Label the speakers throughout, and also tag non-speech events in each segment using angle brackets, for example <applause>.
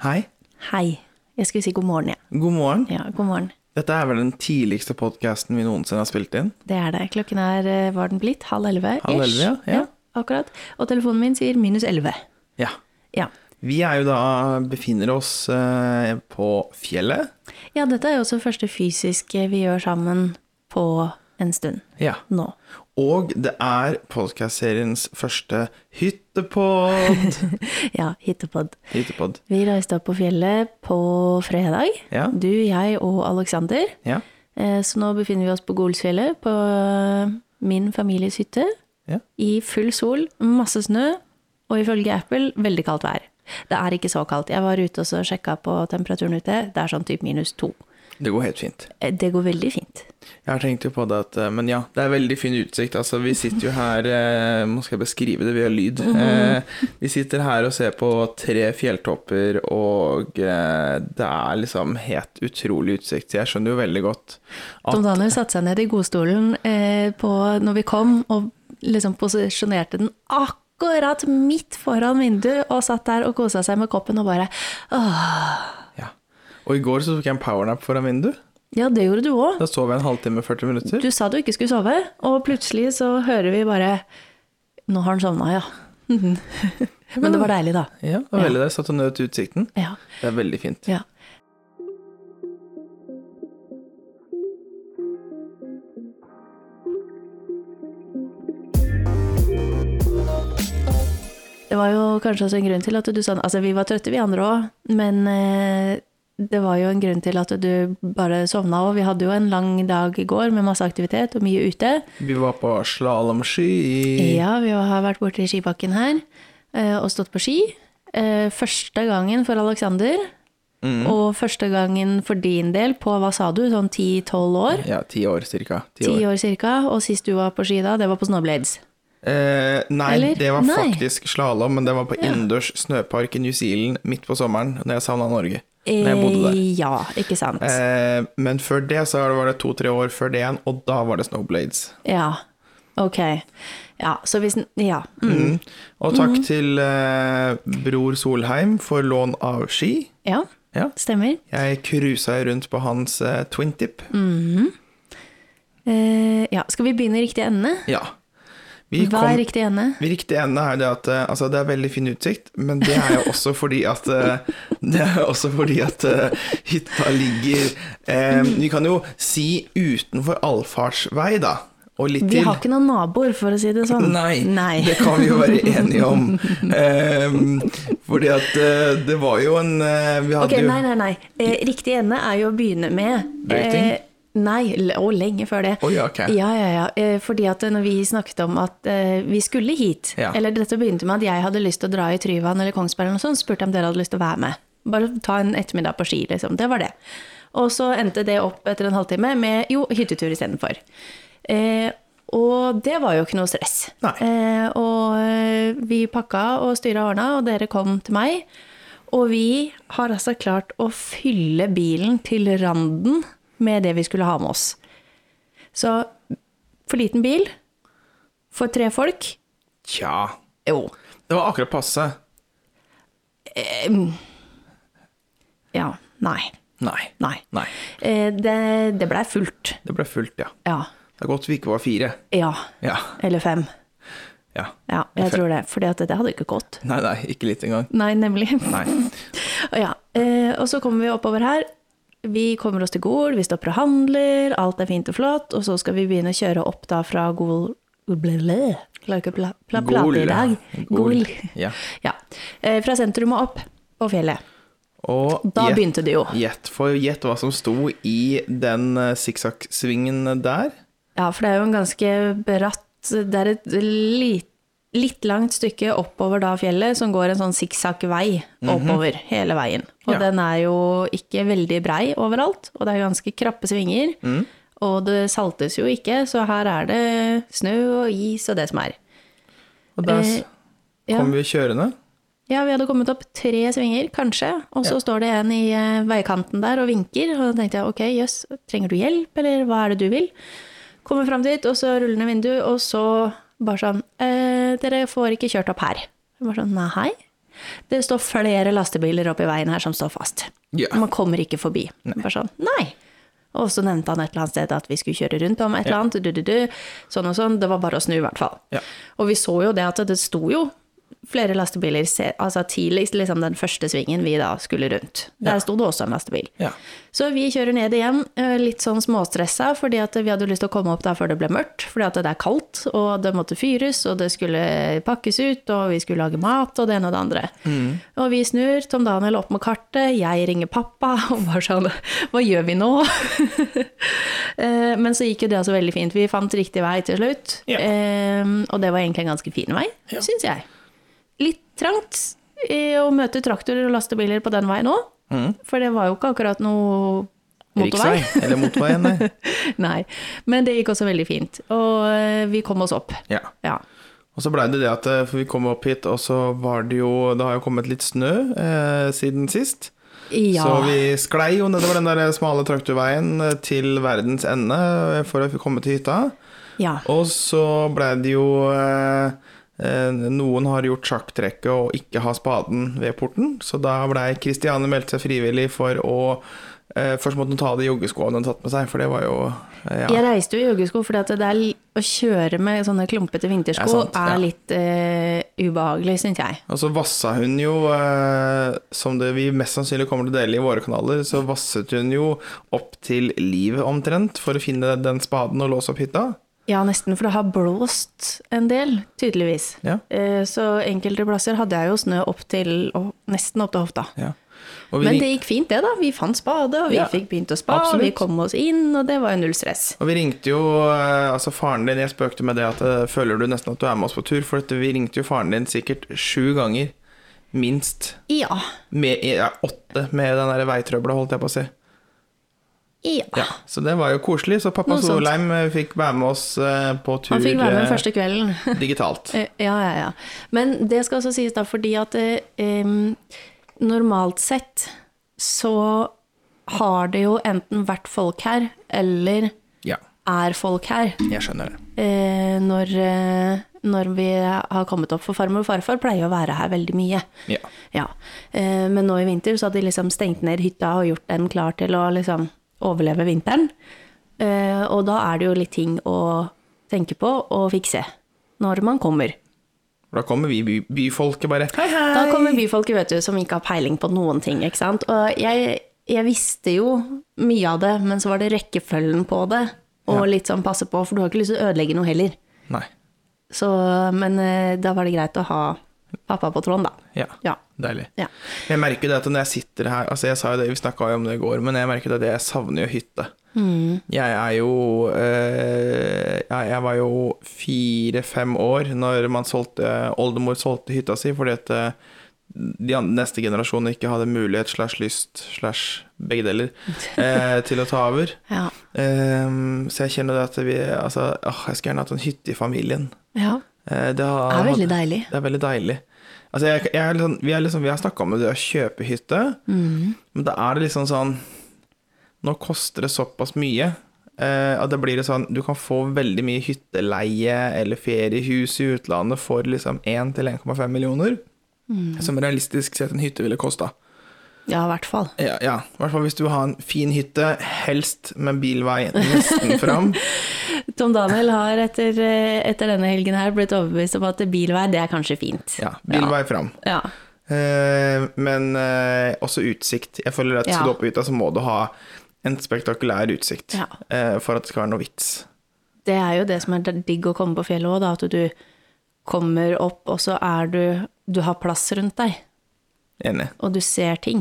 Speaker 1: Hei,
Speaker 2: Hei. Jeg skulle si god morgen, jeg.
Speaker 1: god morgen.
Speaker 2: Ja. ja, god morgen.
Speaker 1: Dette er vel den tidligste podkasten vi noensinne har spilt inn.
Speaker 2: Det er det. Klokken er, eh, var den blitt? Halv elleve?
Speaker 1: Halv
Speaker 2: ish.
Speaker 1: elleve, ja.
Speaker 2: ja. Akkurat. Og telefonen min sier minus elleve.
Speaker 1: Ja.
Speaker 2: Ja.
Speaker 1: Vi er jo da befinner oss eh, på fjellet.
Speaker 2: ja, dette er jo også første fysiske vi gjør sammen på en stund
Speaker 1: Ja.
Speaker 2: nå.
Speaker 1: Og det er podkastseriens første hyttepod. <laughs>
Speaker 2: Ja, hittepod.
Speaker 1: hyttepod.
Speaker 2: Vi reiste opp på fjellet på fredag.
Speaker 1: Ja.
Speaker 2: Du, jeg og Aleksander.
Speaker 1: Ja.
Speaker 2: Eh, Så nå befinner vi oss på Golsfjellet, på eh, min families hytte.
Speaker 1: Ja.
Speaker 2: I full sol, masse snø, og ifølge Apple veldig kaldt vær. Det er ikke så kaldt. Jeg var ute og så sjekka på temperaturen ute. Det er sånn typ minus to.
Speaker 1: Det går helt fint.
Speaker 2: Eh, Det går veldig fint.
Speaker 1: Jeg har tenkt jo på det at eh, Men ja, det er veldig fin utsikt. Altså, vi sitter jo her eh, Nå skal jeg beskrive det via lyd. Eh, vi sitter her og ser på tre fjelltopper, og eh, det er liksom helt utrolig utsikt. Så jeg skjønner jo veldig godt Ah, at
Speaker 2: Tom Daniel satte seg ned i godstolen eh, på, når vi kom, og liksom posisjonerte den akkurat midt foran vinduet, og satt der og kosa seg med koppen og bare Åh.
Speaker 1: ja. Og i går så tok jeg en powernap foran vinduet.
Speaker 2: Ja, det gjorde du òg.
Speaker 1: Da sov jeg en halvtime og 40 minutter.
Speaker 2: Du sa du ikke skulle sove, og plutselig så hører vi bare Nå har han sovna, ja. <laughs> Men det var deilig, da.
Speaker 1: Ja, det var veldig der. Satt og nøt utsikten.
Speaker 2: Ja.
Speaker 1: Det er veldig fint.
Speaker 2: ja. Det var jo kanskje også en grunn til at du sa Altså, vi var trøtte, vi andre òg, men eh, det var jo en grunn til at du bare sovna òg. Vi hadde jo en lang dag i går med masse aktivitet og mye ute.
Speaker 1: Vi var på slalåmsky i
Speaker 2: Ja, vi har vært borte i skibakken her eh, og stått på ski. Eh, Første gangen for Alexander,
Speaker 1: Mm.
Speaker 2: og første gangen for din del på, hva sa du, sånn 10-12 år?
Speaker 1: ja, ti år cirka. Ti
Speaker 2: 10
Speaker 1: år.
Speaker 2: år cirka, og sist du var på ski da, det var på Snowblades.
Speaker 1: Eh, nei,
Speaker 2: Eller?
Speaker 1: det var
Speaker 2: Nei.
Speaker 1: faktisk slalåm, men det var på innendørs snøpark i New Zealand midt på sommeren, når jeg savna Norge. Når jeg bodde der.
Speaker 2: Eh, Ja, ikke sant.
Speaker 1: Eh, men før det så var det to-tre år før det igjen, og da var det Snowblades.
Speaker 2: Ja, ok. Ja, så hvis, n- ja. Mm.
Speaker 1: Mm. Og takk til eh, Bror Solheim for lån av ski.
Speaker 2: Ja,
Speaker 1: Ja.
Speaker 2: stemmer.
Speaker 1: Jeg cruisa rundt på hans eh, twintip.
Speaker 2: Mm. Eh, Ja, skal vi begynne i riktig ende?
Speaker 1: Ja. Vi
Speaker 2: Hva
Speaker 1: kom-
Speaker 2: er riktig ende?
Speaker 1: Vi riktig ende er jo det at eh, altså, det er veldig fin utsikt, men det er jo også fordi at eh, Det er også fordi at eh, hytta ligger eh, Vi kan jo si utenfor allfartsvei, da. Og litt
Speaker 2: Vi
Speaker 1: til.
Speaker 2: har ikke noen naboer, for å si det sånn.
Speaker 1: Nei,
Speaker 2: Nei.
Speaker 1: det kan vi jo være enige om. Eh, fordi at eh, det var jo en eh, Vi hadde
Speaker 2: Ok,
Speaker 1: jo
Speaker 2: nei, nei, nei. Eh, riktig ende er jo å begynne med eh,
Speaker 1: Dating?
Speaker 2: Nei, l- og lenge før det.
Speaker 1: Oi, ja, ok.
Speaker 2: Ja, ja, ja. Eh, fordi at når vi snakket om at eh, vi skulle hit,
Speaker 1: Ja.
Speaker 2: eller dette begynte med at jeg hadde lyst til å dra i Tryvann eller Kongsberg eller noe sånt, spurte jeg om dere hadde lyst til å være med. Bare ta en ettermiddag på ski, liksom. Det var det. Og så endte det opp etter en halvtime med jo, hyttetur istedenfor. Eh, og det var jo ikke noe stress.
Speaker 1: Nei.
Speaker 2: Eh, og eh, vi pakka og styra ordna, og dere kom til meg. Og vi har altså klart å fylle bilen til randen med det vi skulle ha med oss. Så for liten bil, for tre folk
Speaker 1: Tja.
Speaker 2: Jo.
Speaker 1: Det var akkurat passe.
Speaker 2: Ja. Nei.
Speaker 1: Nei.
Speaker 2: Nei.
Speaker 1: Nei.
Speaker 2: Eh, Det, det blei fullt.
Speaker 1: Det ble fullt, ja.
Speaker 2: Ja.
Speaker 1: Det er godt vi ikke var fire.
Speaker 2: Ja.
Speaker 1: Ja.
Speaker 2: Eller fem.
Speaker 1: ja.
Speaker 2: Ja, jeg tror det. For det hadde ikke gått.
Speaker 1: Nei, nei, ikke litt engang.
Speaker 2: Nei, nemlig.
Speaker 1: Nei.
Speaker 2: Og <laughs> Ja, eh, og så kommer vi oppover her. Vi kommer oss til Gol, vi stopper og handler, alt er fint og flott, og så skal vi begynne å kjøre opp da fra Gol Blele. Klarer ikke å pla pla
Speaker 1: Gol,
Speaker 2: plate i dag.
Speaker 1: ja. Gol,
Speaker 2: Gol.
Speaker 1: ja.
Speaker 2: Ja. Eh, Fra sentrum og opp på fjellet.
Speaker 1: Og
Speaker 2: Da
Speaker 1: gjett-
Speaker 2: begynte det jo.
Speaker 1: Gjett for gjett hva som sto i den eh, sikksakksvingen der.
Speaker 2: Ja, for det er jo en ganske bratt Det er et litt, litt langt stykke oppover da fjellet som går en sånn sikksakk-vei oppover hele veien. Og
Speaker 1: Mhm. Ja.
Speaker 2: den er jo ikke veldig brei overalt, og det er ganske krappe svinger.
Speaker 1: Mhm.
Speaker 2: Og det saltes jo ikke, så her er det snø og is og det som er.
Speaker 1: Og der s-
Speaker 2: Eh, ja.
Speaker 1: kom vi kjørende.
Speaker 2: Ja, vi hadde kommet opp tre svinger, kanskje, og så
Speaker 1: Ja.
Speaker 2: står det en i eh, veikanten der og vinker, og da tenkte jeg ok, jøss, trenger du hjelp, eller hva er det du vil? Kommer fram dit, og så ruller ned vinduet, og så bare sånn eh, Dere får ikke kjørt opp her. Jeg Bare sånn nei, Det står flere lastebiler oppi veien her som står fast.
Speaker 1: Ja.
Speaker 2: Man kommer ikke forbi. Bare sånn, nei. Og så nevnte han et eller annet sted at vi skulle kjøre rundt om et eller annet. Du, du, du, sånn og sånn. Det var bare å snu, i hvert fall.
Speaker 1: Ja.
Speaker 2: Og vi så jo det at det sto jo flere lastebiler se- altså tidligst liksom den første svingen vi da skulle rundt. Der sto det også en lastebil.
Speaker 1: Ja.
Speaker 2: Så vi kjører ned igjen, eh, litt sånn småstressa, fordi at vi hadde lyst til å komme opp der før det ble mørkt. Fordi at det er kaldt, og det måtte fyres, og det skulle pakkes ut, og vi skulle lage mat, og det ene og det andre.
Speaker 1: Mm.
Speaker 2: Og vi snur, Tom Daniel opp med kartet, jeg ringer pappa, <laughs> og bare sånn Hva gjør vi nå? <laughs> Eh, Men så gikk jo det altså veldig fint. Vi fant riktig vei til slutt,
Speaker 1: Ja.
Speaker 2: eh, og det var egentlig en ganske fin vei,
Speaker 1: Ja.
Speaker 2: syns jeg litt trangt eh, å møte traktorer og lastebiler på den veien òg. For det var jo ikke akkurat noe motorvei.
Speaker 1: Mm.
Speaker 2: <laughs>
Speaker 1: Riksvei, eller motorveien, nei.
Speaker 2: Nei. Men det gikk også veldig fint. Og eh, vi kom oss opp.
Speaker 1: Ja.
Speaker 2: Ja.
Speaker 1: Og så blei det det at eh, for vi kom opp hit, og så var det jo Det har jo kommet litt snø eh, siden sist.
Speaker 2: ja.
Speaker 1: Så vi sklei jo nedover den der smale traktorveien eh, til verdens ende eh, for å komme til hytta.
Speaker 2: ja.
Speaker 1: Og så blei det jo eh, eh, Noen har gjort sjakktrekket og ikke har spaden ved porten, så da blei Kristiane meldt seg frivillig for å eh, Først måtte hun ta av de joggeskoene hun tatt med seg, for det var jo eh, ja.
Speaker 2: Jeg reiste jo i joggesko, fordi at det er li- å kjøre med sånne klumpete vintersko
Speaker 1: Det
Speaker 2: er,
Speaker 1: er sant, ja.
Speaker 2: litt eh, ubehagelig, syns jeg.
Speaker 1: Og så vassa hun jo, eh, som det vi mest sannsynlig kommer til å dele i våre kanaler, så vasset hun jo opp til livet omtrent for å finne den spaden og låse opp hytta.
Speaker 2: Ja, nesten, for det har blåst en del, tydeligvis.
Speaker 1: Ja.
Speaker 2: Eh, så enkelte plasser hadde jeg jo snø opp til, og nesten opp til hofta.
Speaker 1: Ja. Og vi,
Speaker 2: Men det
Speaker 1: ring-
Speaker 2: gikk fint, det, da. Vi fant spade, og vi
Speaker 1: Ja,
Speaker 2: fikk begynt å spa, og
Speaker 1: absolutt.
Speaker 2: vi kom oss inn, og det var jo null stress.
Speaker 1: og vi ringte jo eh, altså faren din, jeg spøkte med det at eh, føler du nesten at du er med oss på tur, for at vi ringte jo faren din sikkert sju ganger, minst,
Speaker 2: Ja.
Speaker 1: med, ja, åtte med den der veitrøbla, holdt jeg på å si.
Speaker 2: Ja.
Speaker 1: Ja, så det var jo koselig, så pappa
Speaker 2: Noe sånt.
Speaker 1: Solheim eh, fikk være med oss eh, på tur
Speaker 2: Han fikk være med
Speaker 1: eh,
Speaker 2: første kvelden. <laughs>
Speaker 1: digitalt.
Speaker 2: Eh, Ja, ja, ja. Men det skal også sies, da, fordi at eh, em, normalt sett så har det jo enten vært folk her, eller
Speaker 1: Ja,
Speaker 2: er folk her,
Speaker 1: jeg skjønner det.
Speaker 2: eh, når, eh, når vi har kommet opp. For farmor og farfar pleier å være her veldig mye.
Speaker 1: Ja.
Speaker 2: Ja, eh, men nå i vinter så hadde de liksom stengt ned hytta og gjort den klar til å liksom overleve vinteren. Eh, og da er det jo litt ting å tenke på og fikse når man kommer.
Speaker 1: For da kommer vi by byfolket bare Hei, hei!
Speaker 2: Da kommer byfolket, vet du, som ikke har peiling på noen ting, ikke sant. Og jeg, jeg visste jo mye av det, men så var det rekkefølgen på det, og litt sånn passe på, for du har ikke lyst til å ødelegge noe heller.
Speaker 1: Nei.
Speaker 2: Så, men eh, da var det greit å ha pappa på tråden, da.
Speaker 1: Ja.
Speaker 2: Ja.
Speaker 1: Deilig.
Speaker 2: ja.
Speaker 1: Jeg merker det at når jeg sitter her Altså, jeg sa jo det, vi snakka jo om det i går, men jeg merker det at jeg savner jo hytte.
Speaker 2: Mm.
Speaker 1: Jeg er jo eh, ja, Jeg var jo fire-fem år når man solgte Oldemor solgte hytta si fordi at eh, de an- neste generasjonen ikke hadde mulighet slash lyst slash begge deler
Speaker 2: <laughs>
Speaker 1: eh, til å ta over.
Speaker 2: Ja.
Speaker 1: Ehm, så jeg kjenner det at vi Altså, åh, jeg skulle gjerne hatt en hytte i familien.
Speaker 2: ja.
Speaker 1: Eh, Det har,
Speaker 2: Det er veldig deilig.
Speaker 1: Det er veldig deilig. Altså, jeg, jeg er litt sånn- vi, er liksom, vi har snakka om det å kjøpe hytte, men da er det liksom sånn Nå koster det såpass mye eh, at det blir det sånn Du kan få veldig mye hytteleie eller feriehus i utlandet for liksom 1 til 1,5 millioner, som realistisk sett en hytte ville kosta.
Speaker 2: Ja, i hvert fall.
Speaker 1: Ja, ja. I hvert fall hvis du har en fin hytte, helst med bilvei nesten fram.
Speaker 2: Tom Daniel har etter, eh, etter denne helgen her blitt overbevist om at bilvei, det er kanskje fint.
Speaker 1: Ja, bilvei fram.
Speaker 2: Ja.
Speaker 1: Eh, men eh, også utsikt. Jeg føler at
Speaker 2: Ja.
Speaker 1: skal du opp på hytta, så må du ha en spektakulær utsikt
Speaker 2: Ja.
Speaker 1: eh, for at det skal være noe vits.
Speaker 2: Det er jo det som er digg å komme på fjellet òg, da. At du kommer opp, og så er du Du har plass rundt deg,
Speaker 1: Enig.
Speaker 2: og du ser ting.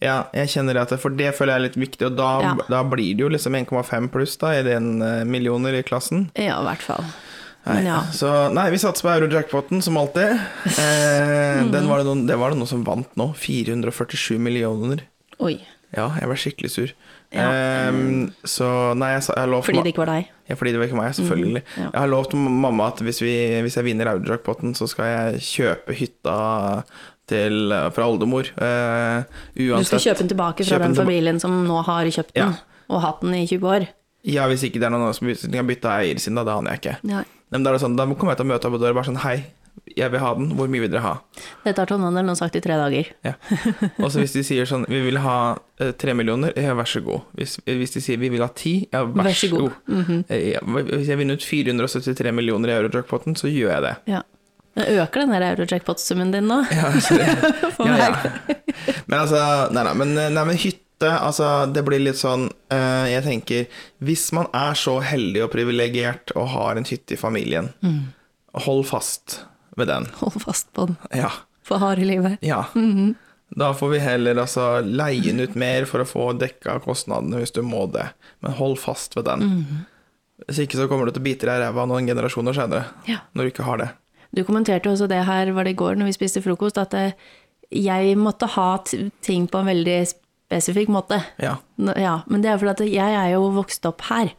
Speaker 1: Ja, jeg kjenner at det, for det føler jeg er litt viktig, og da,
Speaker 2: Ja.
Speaker 1: da blir det jo liksom 1,5 pluss da, i den eh, millioner i klassen.
Speaker 2: Ja, i hvert fall.
Speaker 1: Nei.
Speaker 2: Men ja.
Speaker 1: Så nei, vi satser på eurojackpoten som alltid.
Speaker 2: <laughs>
Speaker 1: Eh,
Speaker 2: Mm.
Speaker 1: den var det, noen, det var det noen som vant nå. 447 millioner.
Speaker 2: Oi.
Speaker 1: Ja, jeg ble skikkelig sur.
Speaker 2: Ja.
Speaker 1: Eh, så nei, jeg, sa- jeg lovte
Speaker 2: Fordi det ikke var deg.
Speaker 1: Ja, fordi det var ikke meg, selvfølgelig.
Speaker 2: Mhm, ja.
Speaker 1: Jeg har lovt mamma at hvis, vi, hvis jeg vinner Audjackpotten, så skal jeg kjøpe hytta til, fra oldemor. eh,
Speaker 2: Du
Speaker 1: uansett.
Speaker 2: skal kjøpe den tilbake fra
Speaker 1: Kjøpe den
Speaker 2: den
Speaker 1: tilba-
Speaker 2: familien som nå har kjøpt den, og hatt den i 20 år.
Speaker 1: Ja, hvis ikke det er noen andre som hvis de kan bytte eier sin, da, det aner jeg ikke.
Speaker 2: Ja.
Speaker 1: Men da er det sånn, da kommer jeg til å møte opp på døra og bare sånn Hei, Jeg vil ha den. Hvor mye vil dere ha?
Speaker 2: Dette har tonehandelen nå sagt i tre dager. <laughs>
Speaker 1: Og så hvis de sier sånn Vi vil ha eh, tre millioner. Ja, vær så god. Hvis, hvis de sier vi vil ha ti. Ja, vær, så god.
Speaker 2: Mhm.
Speaker 1: Eh, ja, Hvis jeg vinner ut 473 millioner i eurojackpoten, så gjør jeg det.
Speaker 2: Ja. Men øker den der eurojackpot-summen din nå?
Speaker 1: Ja, så det
Speaker 2: For
Speaker 1: ja,
Speaker 2: meg.
Speaker 1: ja. Men altså, nei, nei, men, nei, men hytte, altså, det blir litt sånn eh, Jeg tenker, hvis man er så heldig og privilegert og har en hytte i familien,
Speaker 2: Mm.
Speaker 1: hold fast ved den.
Speaker 2: Hold fast på den
Speaker 1: Ja.
Speaker 2: for harde livet.
Speaker 1: ja.
Speaker 2: Mm-hmm.
Speaker 1: Da får vi heller altså leie den ut mer for å få dekka kostnadene hvis du må det, men hold fast ved den.
Speaker 2: Mm-hmm.
Speaker 1: Hvis ikke så kommer du til å bite deg i ræva noen generasjoner senere,
Speaker 2: Ja.
Speaker 1: når du ikke har det.
Speaker 2: Du kommenterte også det her, var det i går når vi spiste frokost, at eh, jeg måtte ha t- ting på en veldig spesifikk måte.
Speaker 1: Ja.
Speaker 2: Nå- Ja, men det er fordi at jeg er jo vokst opp her,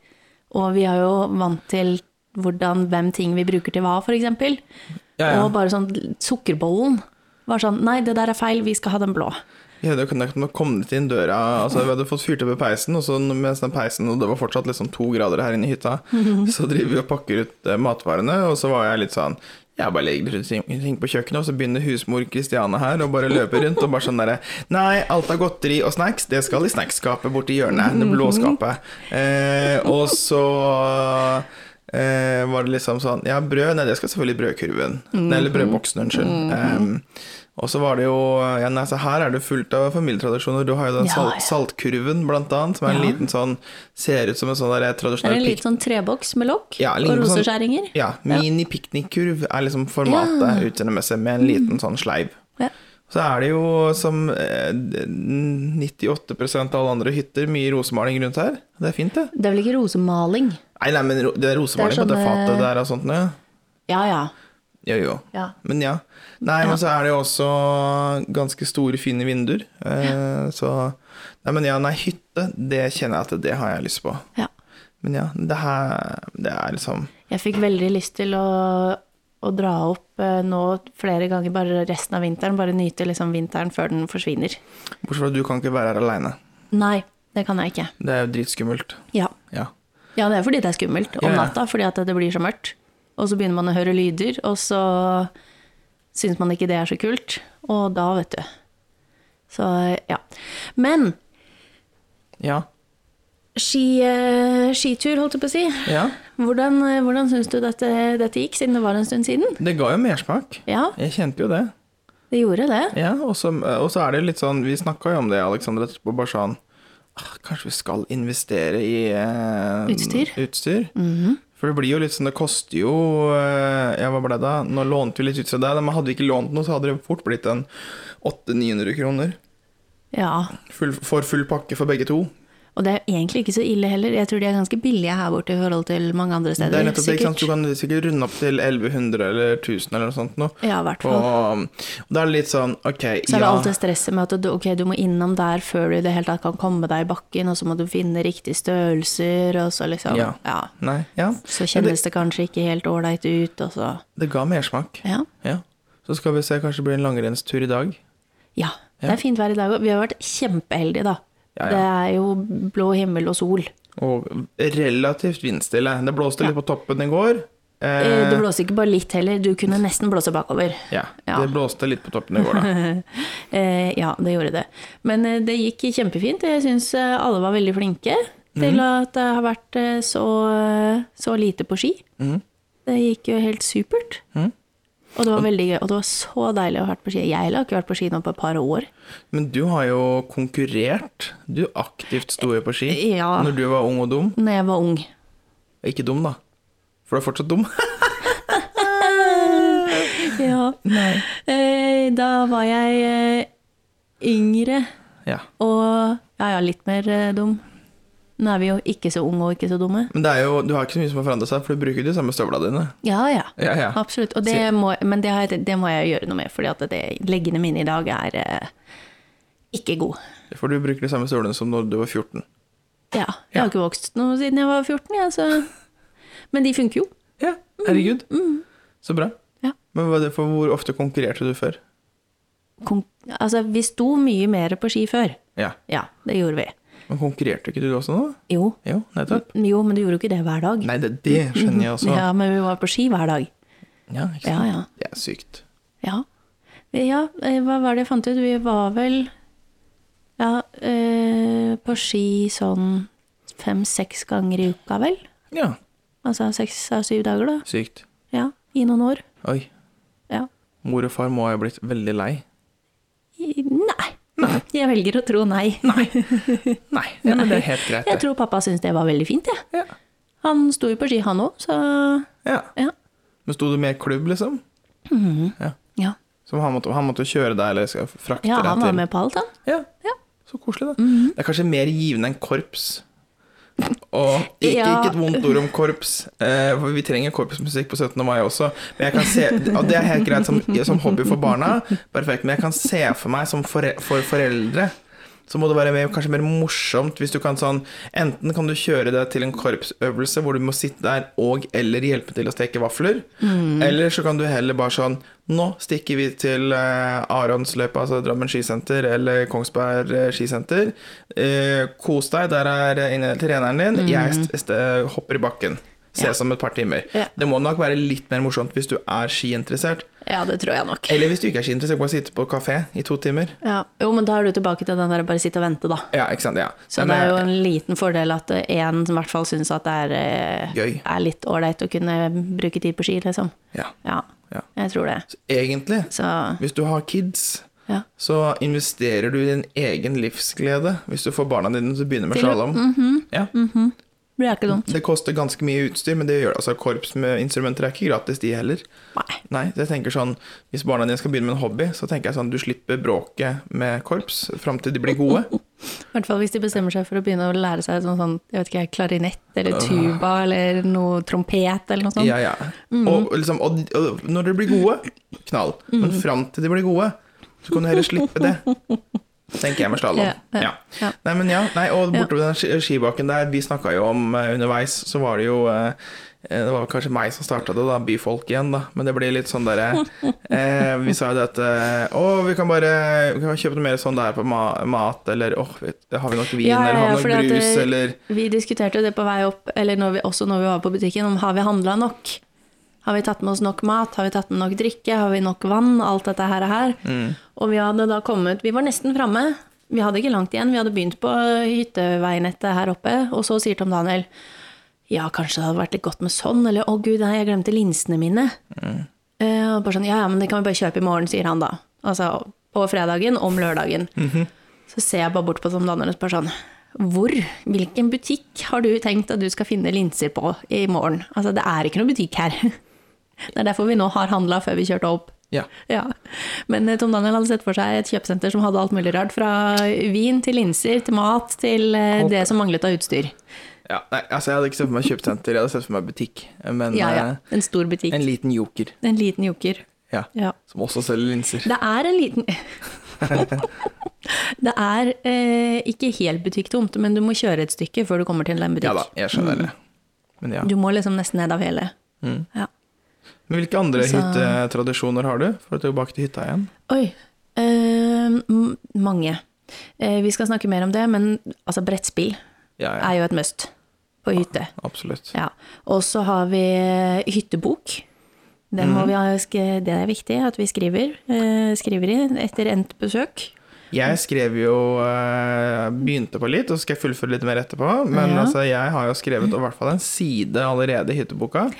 Speaker 2: og vi er jo vant til hvordan, hvem ting vi bruker til hva, for eksempel.
Speaker 1: Ja, ja.
Speaker 2: Og bare sånn sukkerbollen var sånn, nei, det der er feil, vi skal ha den blå.
Speaker 1: Vi hadde jo kunnet med å komme til inn døra altså Vi hadde fått fyrt opp i peisen, og så mens den peisen Og det var fortsatt liksom to grader her inne i hytta, så driver vi og pakker ut eh, matvarene, og så var jeg litt sånn jeg bare legger rundt ting- ting på kjøkkenet, og så begynner husmor Kristiane her og bare løper rundt og bare sånn derre Nei, alt av godteri og snacks, det skal i snackskapet borti hjørnet. Det blå skapet. Eh, og så eh, var det liksom sånn Ja, brød, nei, det skal selvfølgelig i brødkurven.
Speaker 2: Mm.
Speaker 1: Nei, Eller brødboksen, unnskyld. Em, og så var det jo ja, nei, så Her er det fullt av familietradisjoner. Du har jo den
Speaker 2: Ja,
Speaker 1: sal
Speaker 2: ja.
Speaker 1: saltkurven, blant annet, som er en
Speaker 2: Ja.
Speaker 1: liten sånn Ser ut som en sånn der
Speaker 2: Det er
Speaker 1: tradisjonell
Speaker 2: en
Speaker 1: pik...
Speaker 2: liten sånn treboks med lokk
Speaker 1: Ja,
Speaker 2: og
Speaker 1: ligner på sånn-
Speaker 2: roseskjæringer.
Speaker 1: Ja, mini-piknikkurv er liksom formatet utseendemessig, med en
Speaker 2: Mm.
Speaker 1: liten sånn sleiv.
Speaker 2: Ja.
Speaker 1: Så er det jo, som eh, 98 av alle andre hytter, mye rosemaling rundt her. Det er fint, det.
Speaker 2: Det er vel ikke rosemaling?
Speaker 1: Nei, nei, men ro- det er rosemaling
Speaker 2: Det er
Speaker 1: på det
Speaker 2: sånne-
Speaker 1: fatet der og sånt, ja.
Speaker 2: Ja, ja.
Speaker 1: Jo, jo.
Speaker 2: ja.
Speaker 1: Men ja. Nei, men så er det jo også ganske store, fine vinduer. Eh, så Nei, men ja, nei, hytte, det kjenner jeg at det har jeg lyst på.
Speaker 2: ja.
Speaker 1: Men ja, det her Det er liksom
Speaker 2: Jeg fikk veldig lyst til å, å dra opp eh, nå flere ganger bare resten av vinteren. Bare nyte liksom vinteren før den forsvinner.
Speaker 1: Bortsett fra at du kan ikke være her aleine.
Speaker 2: Nei, det kan jeg ikke.
Speaker 1: Det er jo dritskummelt.
Speaker 2: Ja,
Speaker 1: Ja.
Speaker 2: ja det er fordi det er skummelt om
Speaker 1: Ja, ja.
Speaker 2: natta, fordi at det blir så mørkt. Og så begynner man å høre lyder, og så syns man ikke det er så kult. Og da, vet du. Så ja. Men
Speaker 1: Ja.
Speaker 2: ski, eh, skitur, holdt jeg på å si.
Speaker 1: ja.
Speaker 2: Hvordan, eh, hvordan syns du dette, dette gikk, siden det var en stund siden?
Speaker 1: Det ga jo mersmak.
Speaker 2: Ja,
Speaker 1: Jeg kjente jo det.
Speaker 2: det gjorde det.
Speaker 1: Ja, og så og så er det jo litt sånn Vi snakka jo om det, Aleksander, etterpå, bare sånn ah, Kanskje vi skal investere i eh,
Speaker 2: Utstyr?
Speaker 1: utstyr? For det blir jo litt sånn Det koster jo eh, Ja, hva ble det da? Nå lånte vi litt utstyr der, men hadde vi ikke lånt noe, så hadde det fort blitt en 800-900 kroner.
Speaker 2: Ja,
Speaker 1: Full, for full pakke for begge to.
Speaker 2: Og det er egentlig ikke så ille heller. Jeg tror de er ganske billige her borte i forhold til mange andre steder.
Speaker 1: det er nettopp det, ikke sant? Du
Speaker 2: sikkert.
Speaker 1: kan sikkert runde opp til 1100 eller 1000 eller noe sånt nå.
Speaker 2: Ja, i hvert
Speaker 1: Og,
Speaker 2: fall.
Speaker 1: og da er det litt sånn Ok,
Speaker 2: Så er det
Speaker 1: ja.
Speaker 2: alt det stresset med at du, ok, du må innom der før du i det hele tatt kan komme deg i bakken, og så må du finne riktige størrelser, og så liksom
Speaker 1: Ja.
Speaker 2: Ja.
Speaker 1: Nei, ja.
Speaker 2: Så
Speaker 1: Men det,
Speaker 2: kjennes det kanskje ikke helt ålreit ut, og så
Speaker 1: det ga mersmak.
Speaker 2: Ja.
Speaker 1: Ja. Så skal vi se, kanskje det blir en langrennstur i dag.
Speaker 2: ja. Det er fint vær i dag òg. Vi har vært kjempeheldige, da.
Speaker 1: Ja, ja.
Speaker 2: Det er jo blå himmel og sol.
Speaker 1: Og relativt vindstille. Det blåste litt på toppen i går.
Speaker 2: Eh, Det blåser ikke bare litt heller, du kunne nesten blåse bakover.
Speaker 1: Eh, ja,
Speaker 2: ja.
Speaker 1: det blåste litt på toppen i går, da.
Speaker 2: <laughs> Eh, ja, det gjorde det. Men eh, det gikk kjempefint. Jeg syns eh, alle var veldig flinke til at det har vært eh, så, så lite på ski. Det gikk jo helt supert. Mhm. Og det var veldig gøy. Og det var så deilig å ha vært på ski. Jeg har ikke vært på ski nå på et par år.
Speaker 1: Men du har jo konkurrert. Du aktivt sto jo på ski
Speaker 2: Ja.
Speaker 1: når du var ung og dum.
Speaker 2: Når jeg var ung.
Speaker 1: Ikke dum, da. For du er fortsatt dum.
Speaker 2: <laughs>
Speaker 1: <laughs>
Speaker 2: Ja. Eh, da var jeg eh, yngre
Speaker 1: ja.
Speaker 2: og ja, ja, litt mer eh, dum. Nå er vi jo ikke så unge og ikke så dumme.
Speaker 1: Men det er jo, du har ikke så mye som har forandret seg, for du bruker jo de samme støvla dine.
Speaker 2: Ja, ja.
Speaker 1: Ja, ja.
Speaker 2: Absolutt. Og det må, men det, har jeg- det må jeg gjøre noe med, fordi at det, leggene mine i dag er eh, ikke gode.
Speaker 1: For du bruker de samme støvlene som når du var 14.
Speaker 2: Ja, jeg har ikke vokst noe siden jeg var 14, jeg, så Men de funker jo.
Speaker 1: Ja, Mm. herregud. Så bra.
Speaker 2: Mm. Ja.
Speaker 1: Men hva er det for hvor ofte konkurrerte du før?
Speaker 2: Kon altså, vi sto mye mer på ski før.
Speaker 1: Ja.
Speaker 2: Ja, det gjorde vi.
Speaker 1: Men konkurrerte ikke du også nå?
Speaker 2: Jo.
Speaker 1: Jo, nettopp.
Speaker 2: Jo, men du gjorde jo ikke det hver dag.
Speaker 1: Nei, det, det skjønner jeg også.
Speaker 2: Ja, men vi var på ski hver dag.
Speaker 1: Ja, ikke
Speaker 2: Ja,
Speaker 1: sant?
Speaker 2: ja.
Speaker 1: Det er sykt.
Speaker 2: Ja. ja. eh, Hva var det jeg fant ut? Vi var vel ja, eh, på ski sånn fem-seks ganger i uka, vel?
Speaker 1: Ja,
Speaker 2: Altså seks av syv dager, da.
Speaker 1: sykt.
Speaker 2: Ja, I noen år.
Speaker 1: Oi.
Speaker 2: Ja.
Speaker 1: Mor og far må ha blitt veldig lei.
Speaker 2: I, nei. <laughs> Jeg velger å tro nei.
Speaker 1: Nei, ja, men det er helt greit,
Speaker 2: <laughs> Jeg
Speaker 1: det.
Speaker 2: tror pappa syntes det var veldig fint, jeg.
Speaker 1: Ja.
Speaker 2: Han sto jo på ski, han òg, så
Speaker 1: ja.
Speaker 2: ja.
Speaker 1: Men sto du med i klubb, liksom? Ja.
Speaker 2: Ja,
Speaker 1: Som han måtte, han måtte kjøre deg, eller skal frakte
Speaker 2: ja
Speaker 1: deg
Speaker 2: han var
Speaker 1: til
Speaker 2: med på alt, han.
Speaker 1: Ja.
Speaker 2: Ja. Mhm.
Speaker 1: Så koselig, da. Det er kanskje mer givende enn korps. Og ikke,
Speaker 2: Ja.
Speaker 1: ikke et vondt ord om korps, eh, for vi trenger korpsmusikk på 17. mai også. Men jeg kan se, og det er helt greit som, som hobby for barna, perfekt. Men jeg kan se for meg som fore, for foreldre så må det være mer, kanskje mer morsomt hvis du kan sånn Enten kan du kjøre deg til en korpsøvelse hvor du må sitte der og eller hjelpe til å steke vafler,
Speaker 2: Mm.
Speaker 1: eller så kan du heller bare sånn Nå stikker vi til eh, Aronsløypa, altså Drammen skisenter, eller Kongsberg eh, skisenter. Eh, kos deg, der er eh, inne treneren din. Jeg st st hopper i bakken. Ses om et par timer.
Speaker 2: Mm. Ja.
Speaker 1: Det må nok være litt mer morsomt hvis du er skiinteressert.
Speaker 2: Ja, det tror jeg nok.
Speaker 1: Eller hvis du ikke er skiinteressert, bare sitte på kafé i to timer.
Speaker 2: Ja. Jo, men da er du tilbake til den der bare sitte og vente, da.
Speaker 1: Ja, ikke sant. Ja.
Speaker 2: Så
Speaker 1: Men,
Speaker 2: det er jo
Speaker 1: eh,
Speaker 2: en liten fordel at én i hvert fall syns at det er, eh,
Speaker 1: Gøy.
Speaker 2: er litt ålreit å kunne bruke tid på ski, liksom.
Speaker 1: ja.
Speaker 2: Ja,
Speaker 1: Ja.
Speaker 2: jeg tror det.
Speaker 1: Så egentlig,
Speaker 2: Så
Speaker 1: hvis du har kids,
Speaker 2: ja.
Speaker 1: så investerer du i din egen livsglede. Hvis du får barna dine til å begynne med
Speaker 2: Til å-
Speaker 1: slalåm. ja.
Speaker 2: Det er ikke dumt.
Speaker 1: Det koster ganske mye utstyr, men det gjør det. Altså, korps med instrumenter er ikke gratis, de heller.
Speaker 2: Nei.
Speaker 1: Nei, så jeg tenker sånn, Hvis barna dine skal begynne med en hobby, så tenker jeg sånn, du slipper bråket med korps fram til de blir gode.
Speaker 2: I hvert fall hvis de bestemmer seg for å begynne å lære seg sånn, sånn jeg vet ikke, klarinett eller tuba eller noe trompet eller noe sånt.
Speaker 1: Ja, ja.
Speaker 2: Mm.
Speaker 1: Og, liksom, og, og når de blir gode, knall. Men
Speaker 2: Mm.
Speaker 1: fram til de blir gode, så kan du heller slippe
Speaker 2: <laughs>
Speaker 1: det. Tenker jeg med slalåm.
Speaker 2: Ja, ja,
Speaker 1: Ja.
Speaker 2: ja.
Speaker 1: Nei, men ja. Nei, og bortover den ski- skibakken der, vi snakka jo om eh, underveis, så var det jo eh, eh, det var vel kanskje meg som starta det, da, byfolk igjen, da. Men det blir litt sånn derre
Speaker 2: <laughs>
Speaker 1: eh, Vi sa jo det at eh, Å, vi kan bare vi kan kjøpe noe mer sånn der på ma mat, eller åh, vet- har vi nok vin,
Speaker 2: Ja, ja,
Speaker 1: eller
Speaker 2: ja,
Speaker 1: har vi
Speaker 2: fordi
Speaker 1: nok
Speaker 2: at,
Speaker 1: brus,
Speaker 2: eh,
Speaker 1: eller
Speaker 2: Vi diskuterte jo det på vei opp, eller når vi, også når vi var på butikken, om har vi handla nok? Har vi tatt med oss nok mat? Har vi tatt med nok drikke? Har vi nok vann? Alt dette her og her. Og vi hadde da kommet Vi var nesten framme. Vi hadde ikke langt igjen. Vi hadde begynt på hytteveinettet her oppe, og så sier Tom Daniel ja, kanskje det hadde vært litt godt med sånn, eller å gud, nei, jeg glemte linsene mine. Eh, og bare sånn, ja, ja, men det kan vi bare kjøpe i morgen, sier han da. Altså på fredagen om lørdagen.
Speaker 1: Mhm.
Speaker 2: Så ser jeg bare bort på Tom Daniel og spør sånn, hvor, hvilken butikk har du tenkt at du skal finne linser på i morgen? Altså, det er ikke noen butikk her. <laughs> Det er derfor vi nå har handla før vi kjørte opp.
Speaker 1: Ja.
Speaker 2: Ja, Men eh, Tom Daniel hadde sett for seg et kjøpesenter som hadde alt mulig rart. Fra vin til linser til mat til eh,
Speaker 1: Alt.
Speaker 2: det som manglet av utstyr.
Speaker 1: ja. Nei, altså, jeg hadde ikke sett for meg kjøpesenter, jeg hadde sett for meg butikk. Men
Speaker 2: Ja,
Speaker 1: eh,
Speaker 2: ja. En stor butikk.
Speaker 1: En liten joker,
Speaker 2: En liten joker.
Speaker 1: ja.
Speaker 2: Ja.
Speaker 1: Som også selger linser.
Speaker 2: Det er en
Speaker 1: <laughs>
Speaker 2: liten Det er eh, ikke helt butikktomt, men du må kjøre et stykke før du kommer til en
Speaker 1: Ja da,
Speaker 2: butikk.
Speaker 1: jeg skjønner det. Men ja.
Speaker 2: Du må liksom nesten ned av hele.
Speaker 1: Mm.
Speaker 2: Ja.
Speaker 1: Men hvilke andre
Speaker 2: Så-
Speaker 1: hyttetradisjoner har du? For å tilbake til hytta igjen.
Speaker 2: Oi. Eh, m- mange. Eh, vi skal snakke mer om det, men altså, brettspill
Speaker 1: Ja, ja.
Speaker 2: er jo et must på hytte.
Speaker 1: Absolutt.
Speaker 2: Ja. Og så har vi eh, hyttebok. Den
Speaker 1: Mm.
Speaker 2: må vi ha, sk- det er viktig at vi skriver, eh, skriver i etter endt besøk.
Speaker 1: Jeg skrev jo eh, Begynte på litt, og så skal jeg fullføre litt mer etterpå. Men
Speaker 2: Ja.
Speaker 1: altså, jeg har jo skrevet i hvert fall en side allerede i hytteboka.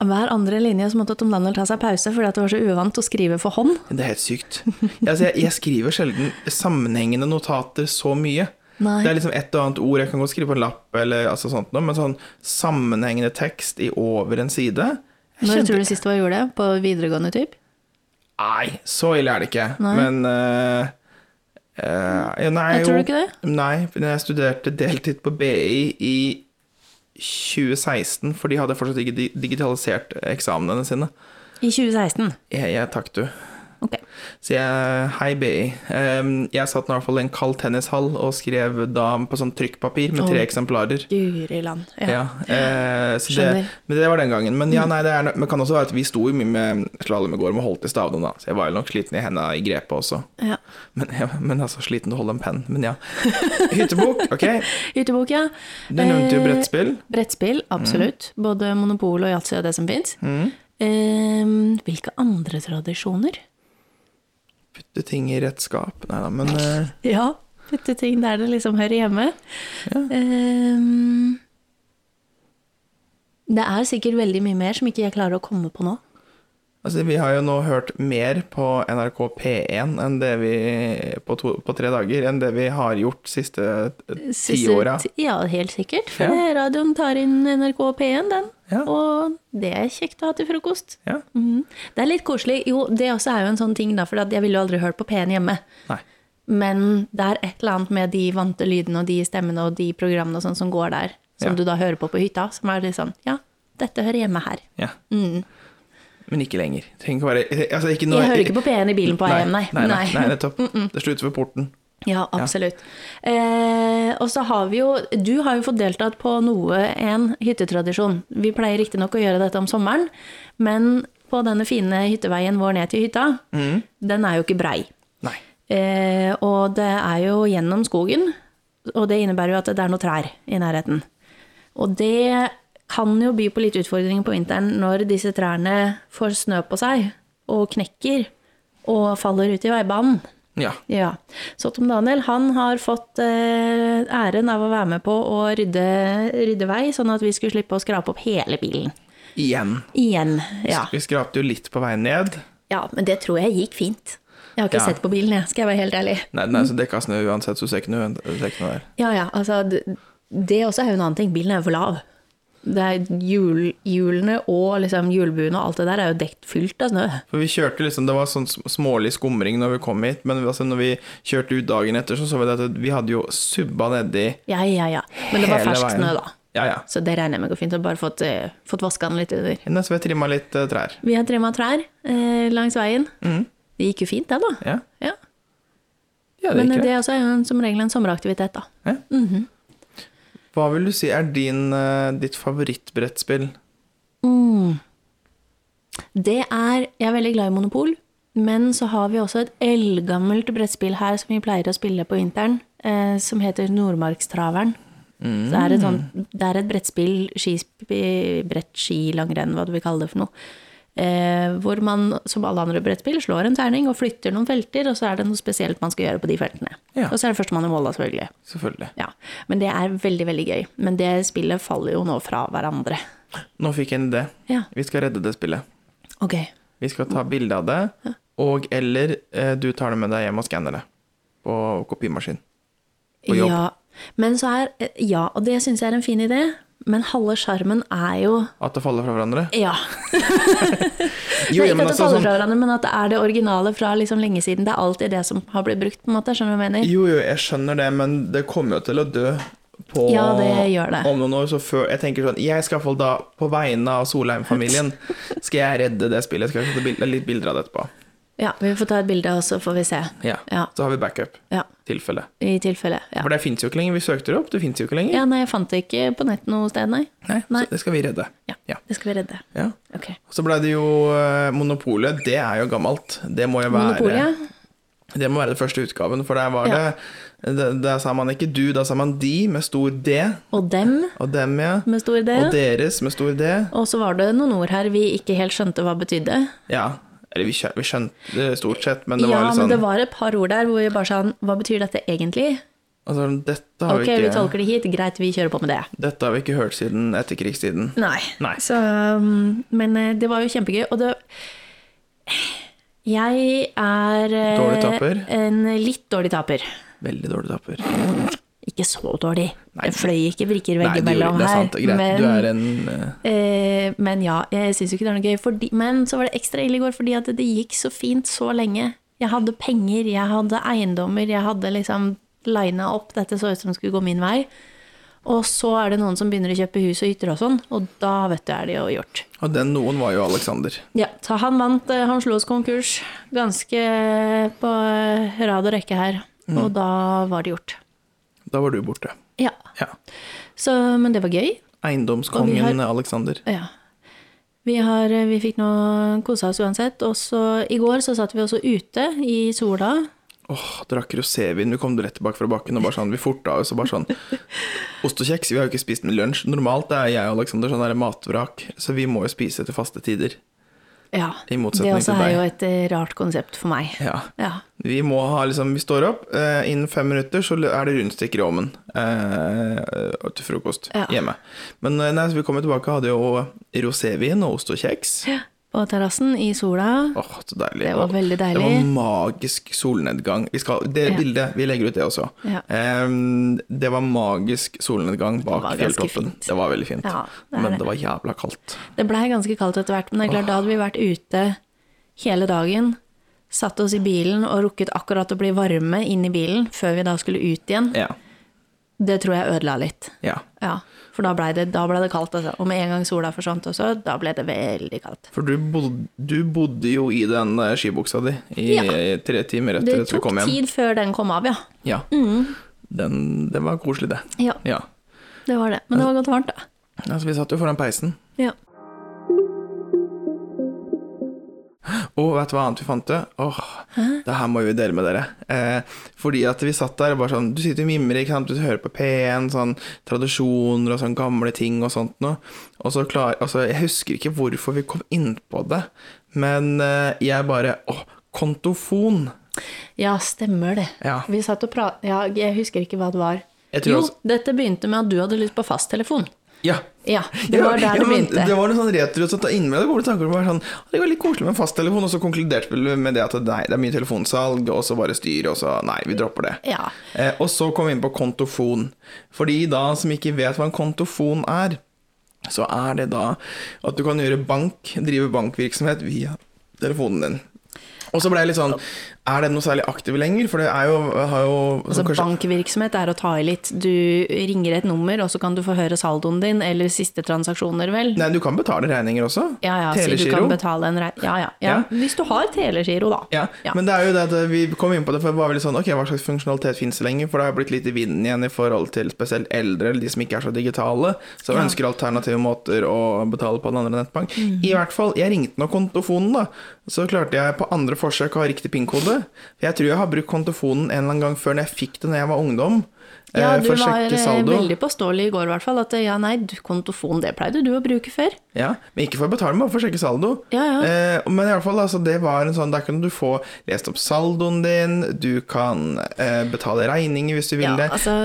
Speaker 2: Hver andre linje så måtte Tom Daniel ta seg pause fordi at det var så uvant å skrive for hånd.
Speaker 1: Det er helt sykt. Altså, jeg, jeg skriver sjelden sammenhengende notater så mye.
Speaker 2: Nei.
Speaker 1: Det er liksom et og annet ord jeg kan godt skrive på en lapp, eller altså sånt noe, men sånn sammenhengende tekst i over en side jeg
Speaker 2: Når
Speaker 1: kjente-
Speaker 2: tror du sist du gjorde det? På videregående typ?
Speaker 1: Nei, så ille er det ikke.
Speaker 2: Nei.
Speaker 1: Men eh, eh, ja, Nei,
Speaker 2: Jeg tror
Speaker 1: jo.
Speaker 2: du ikke det?
Speaker 1: Nei, for jeg studerte deltid på BI i 2016, for de hadde fortsatt ikke di- digitalisert eksamenene sine.
Speaker 2: I 2016.
Speaker 1: Jeg, jeg takk du.
Speaker 2: Ok.
Speaker 1: Så jeg, hei BI. Em, jeg satt nå i hvert fall i en kald tennishall og skrev da på sånn trykkpapir med tre
Speaker 2: Åh.
Speaker 1: eksemplarer.
Speaker 2: Guri land. Ja.
Speaker 1: Ja, eh, så det,
Speaker 2: Skjønner. Mm.
Speaker 1: men det var den gangen. Men ja, nei, det er, no- men kan også være at vi sto jo mye med slalåm i går og holdt i stavene, da. Så jeg var jo nok sliten i henda i grepet også.
Speaker 2: Ja.
Speaker 1: Men, ja, men altså, sliten til å holde en penn. Men ja. Hyttebok, ok.
Speaker 2: Hyttebok, ja. Eh,
Speaker 1: Du nevnte jo brettspill. Mm.
Speaker 2: Brettspill, absolutt. Både Monopol og Yatzy og det som fins. Ehm, hvilke andre tradisjoner?
Speaker 1: Putte ting i rett skap. Nei da, men eh,
Speaker 2: Ja, putte ting der det liksom hører hjemme.
Speaker 1: Ja.
Speaker 2: Ehm, det er sikkert veldig mye mer som ikke jeg klarer å komme på nå.
Speaker 1: altså, vi har jo nå hørt mer på NRK P1 enn det vi, på, to, på tre dager enn det vi har gjort siste eh, ti
Speaker 2: Siste
Speaker 1: åra.
Speaker 2: ti- Ja, helt sikkert. For
Speaker 1: Ja.
Speaker 2: det- radioen tar inn NRK og P1, den.
Speaker 1: Ja.
Speaker 2: Og det er kjekt å ha til frokost.
Speaker 1: Ja.
Speaker 2: Mhm. Det er litt koselig. Jo, det også er jo en sånn ting, da, for at jeg ville jo aldri hørt på P1 hjemme.
Speaker 1: Nei.
Speaker 2: Men det er et eller annet med de vante lydene og de stemmene og de programmene og sånn som går der, som
Speaker 1: Ja.
Speaker 2: du da hører på på hytta, som er litt sånn Ja, dette hører hjemme her.
Speaker 1: Ja.
Speaker 2: Mm.
Speaker 1: Men ikke lenger. Trenger ikke å være altså, ikke noe,
Speaker 2: Jeg hører ikke på P1 i bilen på vei hjem, nei.
Speaker 1: Nei, nei, nei, nettopp. Det slutter ved porten.
Speaker 2: Ja, absolutt. Eh, og så har vi jo Du har jo fått deltatt på noe en hyttetradisjon. Vi pleier riktignok å gjøre dette om sommeren, men på denne fine hytteveien vår ned til hytta, den er jo ikke brei.
Speaker 1: Nei.
Speaker 2: Eh, og det er jo gjennom skogen, og det innebærer jo at det er noen trær i nærheten. Og det kan jo by på litt utfordringer på vinteren når disse trærne får snø på seg og knekker og faller ut i veibanen.
Speaker 1: Ja.
Speaker 2: Ja. Så Tom Daniel han har fått eh, æren av å være med på å rydde, rydde vei, sånn at vi skulle slippe å skrape opp hele bilen.
Speaker 1: Igjen.
Speaker 2: Igjen. Ja.
Speaker 1: Vi skrapte jo litt på vei ned.
Speaker 2: ja, men det tror jeg gikk fint. Jeg har ikke
Speaker 1: Ja.
Speaker 2: sett på bilen, jeg, skal jeg være helt ærlig.
Speaker 1: Nei, den er så dekka av snø uansett, så du ser ikke noe, du ser ikke noe der.
Speaker 2: Ja, ja, altså, det, det også er jo en annen ting. Bilen er jo for lav. Det er hjul, hjulene og liksom hjulbuene og alt det der er jo dekt fylt av snø.
Speaker 1: For vi kjørte liksom, Det var sånn sm- smålig skumring når vi kom hit, men altså, når vi kjørte ut dagen etter, så så vi at vi hadde jo subba nedi
Speaker 2: Ja, ja, ja. Men det var
Speaker 1: Hele
Speaker 2: fersk
Speaker 1: veien.
Speaker 2: snø, da.
Speaker 1: Ja, ja.
Speaker 2: Så det regner jeg med går fint. Og bare fått, eh, fått vaska den litt under.
Speaker 1: Nei, Så vi trimma litt eh, trær.
Speaker 2: Vi har trimma trær eh, langs veien. Det gikk jo fint, det, da.
Speaker 1: Ja,
Speaker 2: Ja.
Speaker 1: ja det
Speaker 2: Men
Speaker 1: gikk
Speaker 2: det
Speaker 1: greit.
Speaker 2: er også en, som regel en sommeraktivitet, da.
Speaker 1: Hva vil du si er din, eh, ditt favorittbrettspill?
Speaker 2: Mm. Det er Jeg er veldig glad i Monopol, men så har vi også et eldgammelt brettspill her som vi pleier å spille på vinteren, eh, som heter Nordmarkstraveren. Så Det, er et sånt, det er et brettspill, skisp- brett, ski, langrenn, hva du vil kalle det for noe. Eh, hvor man, som alle andre brettspill, slår en terning og flytter noen felter, og så er det noe spesielt man skal gjøre på de feltene.
Speaker 1: Ja.
Speaker 2: Og så er det førstemann i mål, da, selvfølgelig.
Speaker 1: Selvfølgelig.
Speaker 2: Ja, men det er veldig, veldig gøy. Men det spillet faller jo nå fra hverandre.
Speaker 1: Nå fikk jeg en idé.
Speaker 2: Ja,
Speaker 1: Vi skal redde det spillet.
Speaker 2: ok.
Speaker 1: Vi skal ta bilde av det, og eller eh, du tar det med deg hjem og skanner det på kopimaskin. På jobb.
Speaker 2: Ja, men så er, eh, ja, og det synes jeg er en fin idé, men halve skjermen er jo,
Speaker 1: At det faller fra hverandre?
Speaker 2: ja,
Speaker 1: Jo,
Speaker 2: Nei,
Speaker 1: ja,
Speaker 2: ikke
Speaker 1: men
Speaker 2: at det
Speaker 1: altså
Speaker 2: faller
Speaker 1: sånn-
Speaker 2: fra hverandre, men at det er det originale fra liksom lenge siden. Det er alltid det som har blitt brukt, på en måte, skjønner du hva jeg mener?
Speaker 1: Jo, jo, jeg skjønner det, men det kommer jo til å dø på
Speaker 2: Ja, det gjør det.
Speaker 1: om noen år. Så før, jeg tenker sånn Jeg skal iallfall da, på vegne av
Speaker 2: <laughs>
Speaker 1: Solheim-familien, skal jeg redde det spillet. Skal jeg få bild- litt bilder av det etterpå.
Speaker 2: Ja, vi får ta et bilde, og så får vi se.
Speaker 1: Ja.
Speaker 2: Ja.
Speaker 1: Så har vi backup.
Speaker 2: Ja,
Speaker 1: Tilfelle.
Speaker 2: i tilfelle, ja.
Speaker 1: For det fins jo ikke lenger. Vi søkte det opp, det fins jo ikke lenger.
Speaker 2: Ja, nei, jeg fant det ikke på nett noe sted, nei.
Speaker 1: Nei,
Speaker 2: Nei.
Speaker 1: Så det skal vi redde.
Speaker 2: Ja,
Speaker 1: Ja.
Speaker 2: det skal vi redde.
Speaker 1: Ja.
Speaker 2: Ok.
Speaker 1: Og Så blei det jo eh, Monopolet. Det er jo gammelt. Det må jo være
Speaker 2: Monopolet?
Speaker 1: Det må være den første utgaven, for der var
Speaker 2: Ja.
Speaker 1: det, det Der sa man ikke du, da sa man de med stor D,
Speaker 2: Og dem,
Speaker 1: og dem, ja.
Speaker 2: med stor idé.
Speaker 1: Og deres med stor D.
Speaker 2: Og så var det noen ord her vi ikke helt skjønte hva betydde.
Speaker 1: Ja. Eller vi skjønte, vi skjønte det stort sett, men det
Speaker 2: ja,
Speaker 1: var litt sånn
Speaker 2: men det var et par ord der hvor vi bare sa hva betyr dette egentlig?
Speaker 1: altså, dette, har
Speaker 2: Ok,
Speaker 1: vi
Speaker 2: vi
Speaker 1: ikke,
Speaker 2: tolker det hit, greit, vi kjører på med det.
Speaker 1: dette har vi ikke hørt siden etterkrigstiden.
Speaker 2: Nei.
Speaker 1: Nei.
Speaker 2: Så, um, men eh, det var jo kjempegøy, og det Jeg er eh,
Speaker 1: Dårlig taper?
Speaker 2: En litt dårlig taper.
Speaker 1: Veldig dårlig tapper.
Speaker 2: Ikke så dårlig.
Speaker 1: Nei.
Speaker 2: Jeg fløy ikke brikker
Speaker 1: Nei, du,
Speaker 2: veggimellom
Speaker 1: det er
Speaker 2: her.
Speaker 1: sant. Greit.
Speaker 2: men-
Speaker 1: Du er en eh,
Speaker 2: Eh, men ja, jeg syns jo ikke det er noe gøy. Fordi, men så var det ekstra ille i går fordi at det gikk så fint så lenge. Jeg hadde penger, jeg hadde eiendommer, jeg hadde liksom lina opp. Dette så ut som det skulle gå min vei. Og så er det noen som begynner å kjøpe hus og hytter og sånn, og da vet du er det jo gjort.
Speaker 1: Og den noen var jo Alexander.
Speaker 2: Ja, så han vant, eh, han slo oss konkurs ganske på eh, rad og rekke her. Og da var det gjort.
Speaker 1: Da var du borte.
Speaker 2: Mm. Ja.
Speaker 1: Ja.
Speaker 2: Så, men det var gøy.
Speaker 1: Eiendomskongen
Speaker 2: Og vi
Speaker 1: Alexander.
Speaker 2: Ja. Vi, har, eh, vi fikk nå kosa oss uansett. Og så i går så satt vi også ute i sola.
Speaker 1: Åh, drakk rosévin. Vi kom rett tilbake fra bakken og bare sånn, vi forta oss og bare sånn Ost og kjeks, vi har jo ikke spist med lunsj. Normalt er jeg og Alexander sånn der matvrak, så vi må jo spise til faste tider.
Speaker 2: Ja.
Speaker 1: I
Speaker 2: Det
Speaker 1: motsetning
Speaker 2: også
Speaker 1: til
Speaker 2: er
Speaker 1: deg.
Speaker 2: jo et eh, rart konsept for meg.
Speaker 1: Ja.
Speaker 2: Ja.
Speaker 1: Vi må ha liksom, vi står opp, eh, innen fem minutter så er det rundstykker i ovnen eh, til frokost
Speaker 2: Ja.
Speaker 1: hjemme. Men eh, nei, så vi kommer tilbake, hadde jo rosévin og ost og kjeks.
Speaker 2: På terrassen i sola.
Speaker 1: Åh, så deilig.
Speaker 2: Det var veldig deilig.
Speaker 1: Det var magisk solnedgang. Vi skal, det
Speaker 2: Ja.
Speaker 1: bildet, vi legger ut det også.
Speaker 2: Ja.
Speaker 1: Em, det var magisk solnedgang bak
Speaker 2: var ganske
Speaker 1: fjelltoppen.
Speaker 2: fint.
Speaker 1: Det var veldig fint.
Speaker 2: Ja, det er
Speaker 1: Men
Speaker 2: det.
Speaker 1: det var jævla kaldt.
Speaker 2: Det blei ganske kaldt etter hvert, men det er klart, da hadde vi vært ute hele dagen. Satt oss i bilen og rukket akkurat å bli varme inn i bilen før vi da skulle ut igjen.
Speaker 1: Ja,
Speaker 2: Det tror jeg ødela litt.
Speaker 1: ja.
Speaker 2: Ja, For da blei det, da ble det kaldt, altså. Og med en gang sola forsvant også, da ble det veldig kaldt.
Speaker 1: For du bodde, du bodde jo i den eh, skibuksa di i
Speaker 2: Ja.
Speaker 1: tre timer etter
Speaker 2: Det
Speaker 1: at du
Speaker 2: tok
Speaker 1: kom hjem.
Speaker 2: tid før den kom av, ja.
Speaker 1: Ja.
Speaker 2: Mm.
Speaker 1: Den, det var koselig, det.
Speaker 2: Ja,
Speaker 1: Ja.
Speaker 2: det var det. Men det var godt varmt, da.
Speaker 1: Altså, vi satt jo foran peisen.
Speaker 2: Ja.
Speaker 1: Og vet du hva annet vi fant ut? Åh, det her må vi dele med dere. Eh, fordi at vi satt der og bare sånn Du sitter og mimrer, ikke sant? du hører på P1, sånn tradisjoner og sånn gamle ting og sånt noe. Og så klar, altså, jeg husker ikke hvorfor vi kom inn på det, men eh, jeg bare Åh, kontofon!
Speaker 2: ja, stemmer det.
Speaker 1: Ja.
Speaker 2: Vi satt og prat... Ja, jeg husker ikke hva det var.
Speaker 1: Jeg tror
Speaker 2: Jo,
Speaker 1: altså-
Speaker 2: dette begynte med at du hadde lyst på fasttelefon.
Speaker 1: Ja.
Speaker 2: Ja, det var der
Speaker 1: <laughs> ja,
Speaker 2: det
Speaker 1: men
Speaker 2: begynte.
Speaker 1: Det var noe sånn retro så da inni meg det gode tanker om det var sånn, «Å, det var litt koselig med en fasttelefon, og så konkluderte vi med det at nei, det er mye telefonsalg, og så bare styr, og så nei, vi dropper det.
Speaker 2: Ja.
Speaker 1: Eh, og så kom vi inn på kontofon. For de da som ikke vet hva en kontofon er, så er det da at du kan gjøre bank, drive bankvirksomhet via telefonen din. Og så ble jeg litt sånn Er det noe særlig aktiv lenger? For det er jo, har jo
Speaker 2: Altså,
Speaker 1: kanskje-
Speaker 2: bankvirksomhet er å ta i litt. Du ringer et nummer, og så kan du få høre saldoen din, eller siste transaksjoner, vel.
Speaker 1: Nei, du kan betale regninger også.
Speaker 2: Ja, ja, så du kan betale en rei... Ja, ja, ja.
Speaker 1: Ja.
Speaker 2: Hvis du har telegiro, da.
Speaker 1: Ja,
Speaker 2: Ja.
Speaker 1: men det er jo det at vi kom inn på det, for det var veldig sånn Ok, hva slags funksjonalitet finnes det lenger? For det har blitt litt i vinden igjen i forhold til spesielt eldre, eller de som ikke er så digitale, som
Speaker 2: Ja.
Speaker 1: ønsker alternative måter å betale på en andre nettbank.
Speaker 2: Mhm.
Speaker 1: I hvert fall, jeg ringte nå kontofonen, da. Så klarte jeg på andre forsøk å ha riktig PIN-kode. For jeg tror jeg har brukt kontofonen en eller annen gang før når jeg fikk det når jeg var ungdom.
Speaker 2: Ja,
Speaker 1: eh,
Speaker 2: du
Speaker 1: for å
Speaker 2: var
Speaker 1: sjekke
Speaker 2: eh,
Speaker 1: saldo.
Speaker 2: veldig påståelig i går, i hvert fall. At eh, ja, nei, du, kontofon, det pleide du å bruke før.
Speaker 1: Ja, men ikke for å betale, men for å sjekke saldo.
Speaker 2: Ja, ja.
Speaker 1: Eh, men i alle fall, altså, det var en sånn, der kunne du få lest opp saldoen din, du kan eh, betale regninger hvis du vil
Speaker 2: Ja,
Speaker 1: det.
Speaker 2: altså,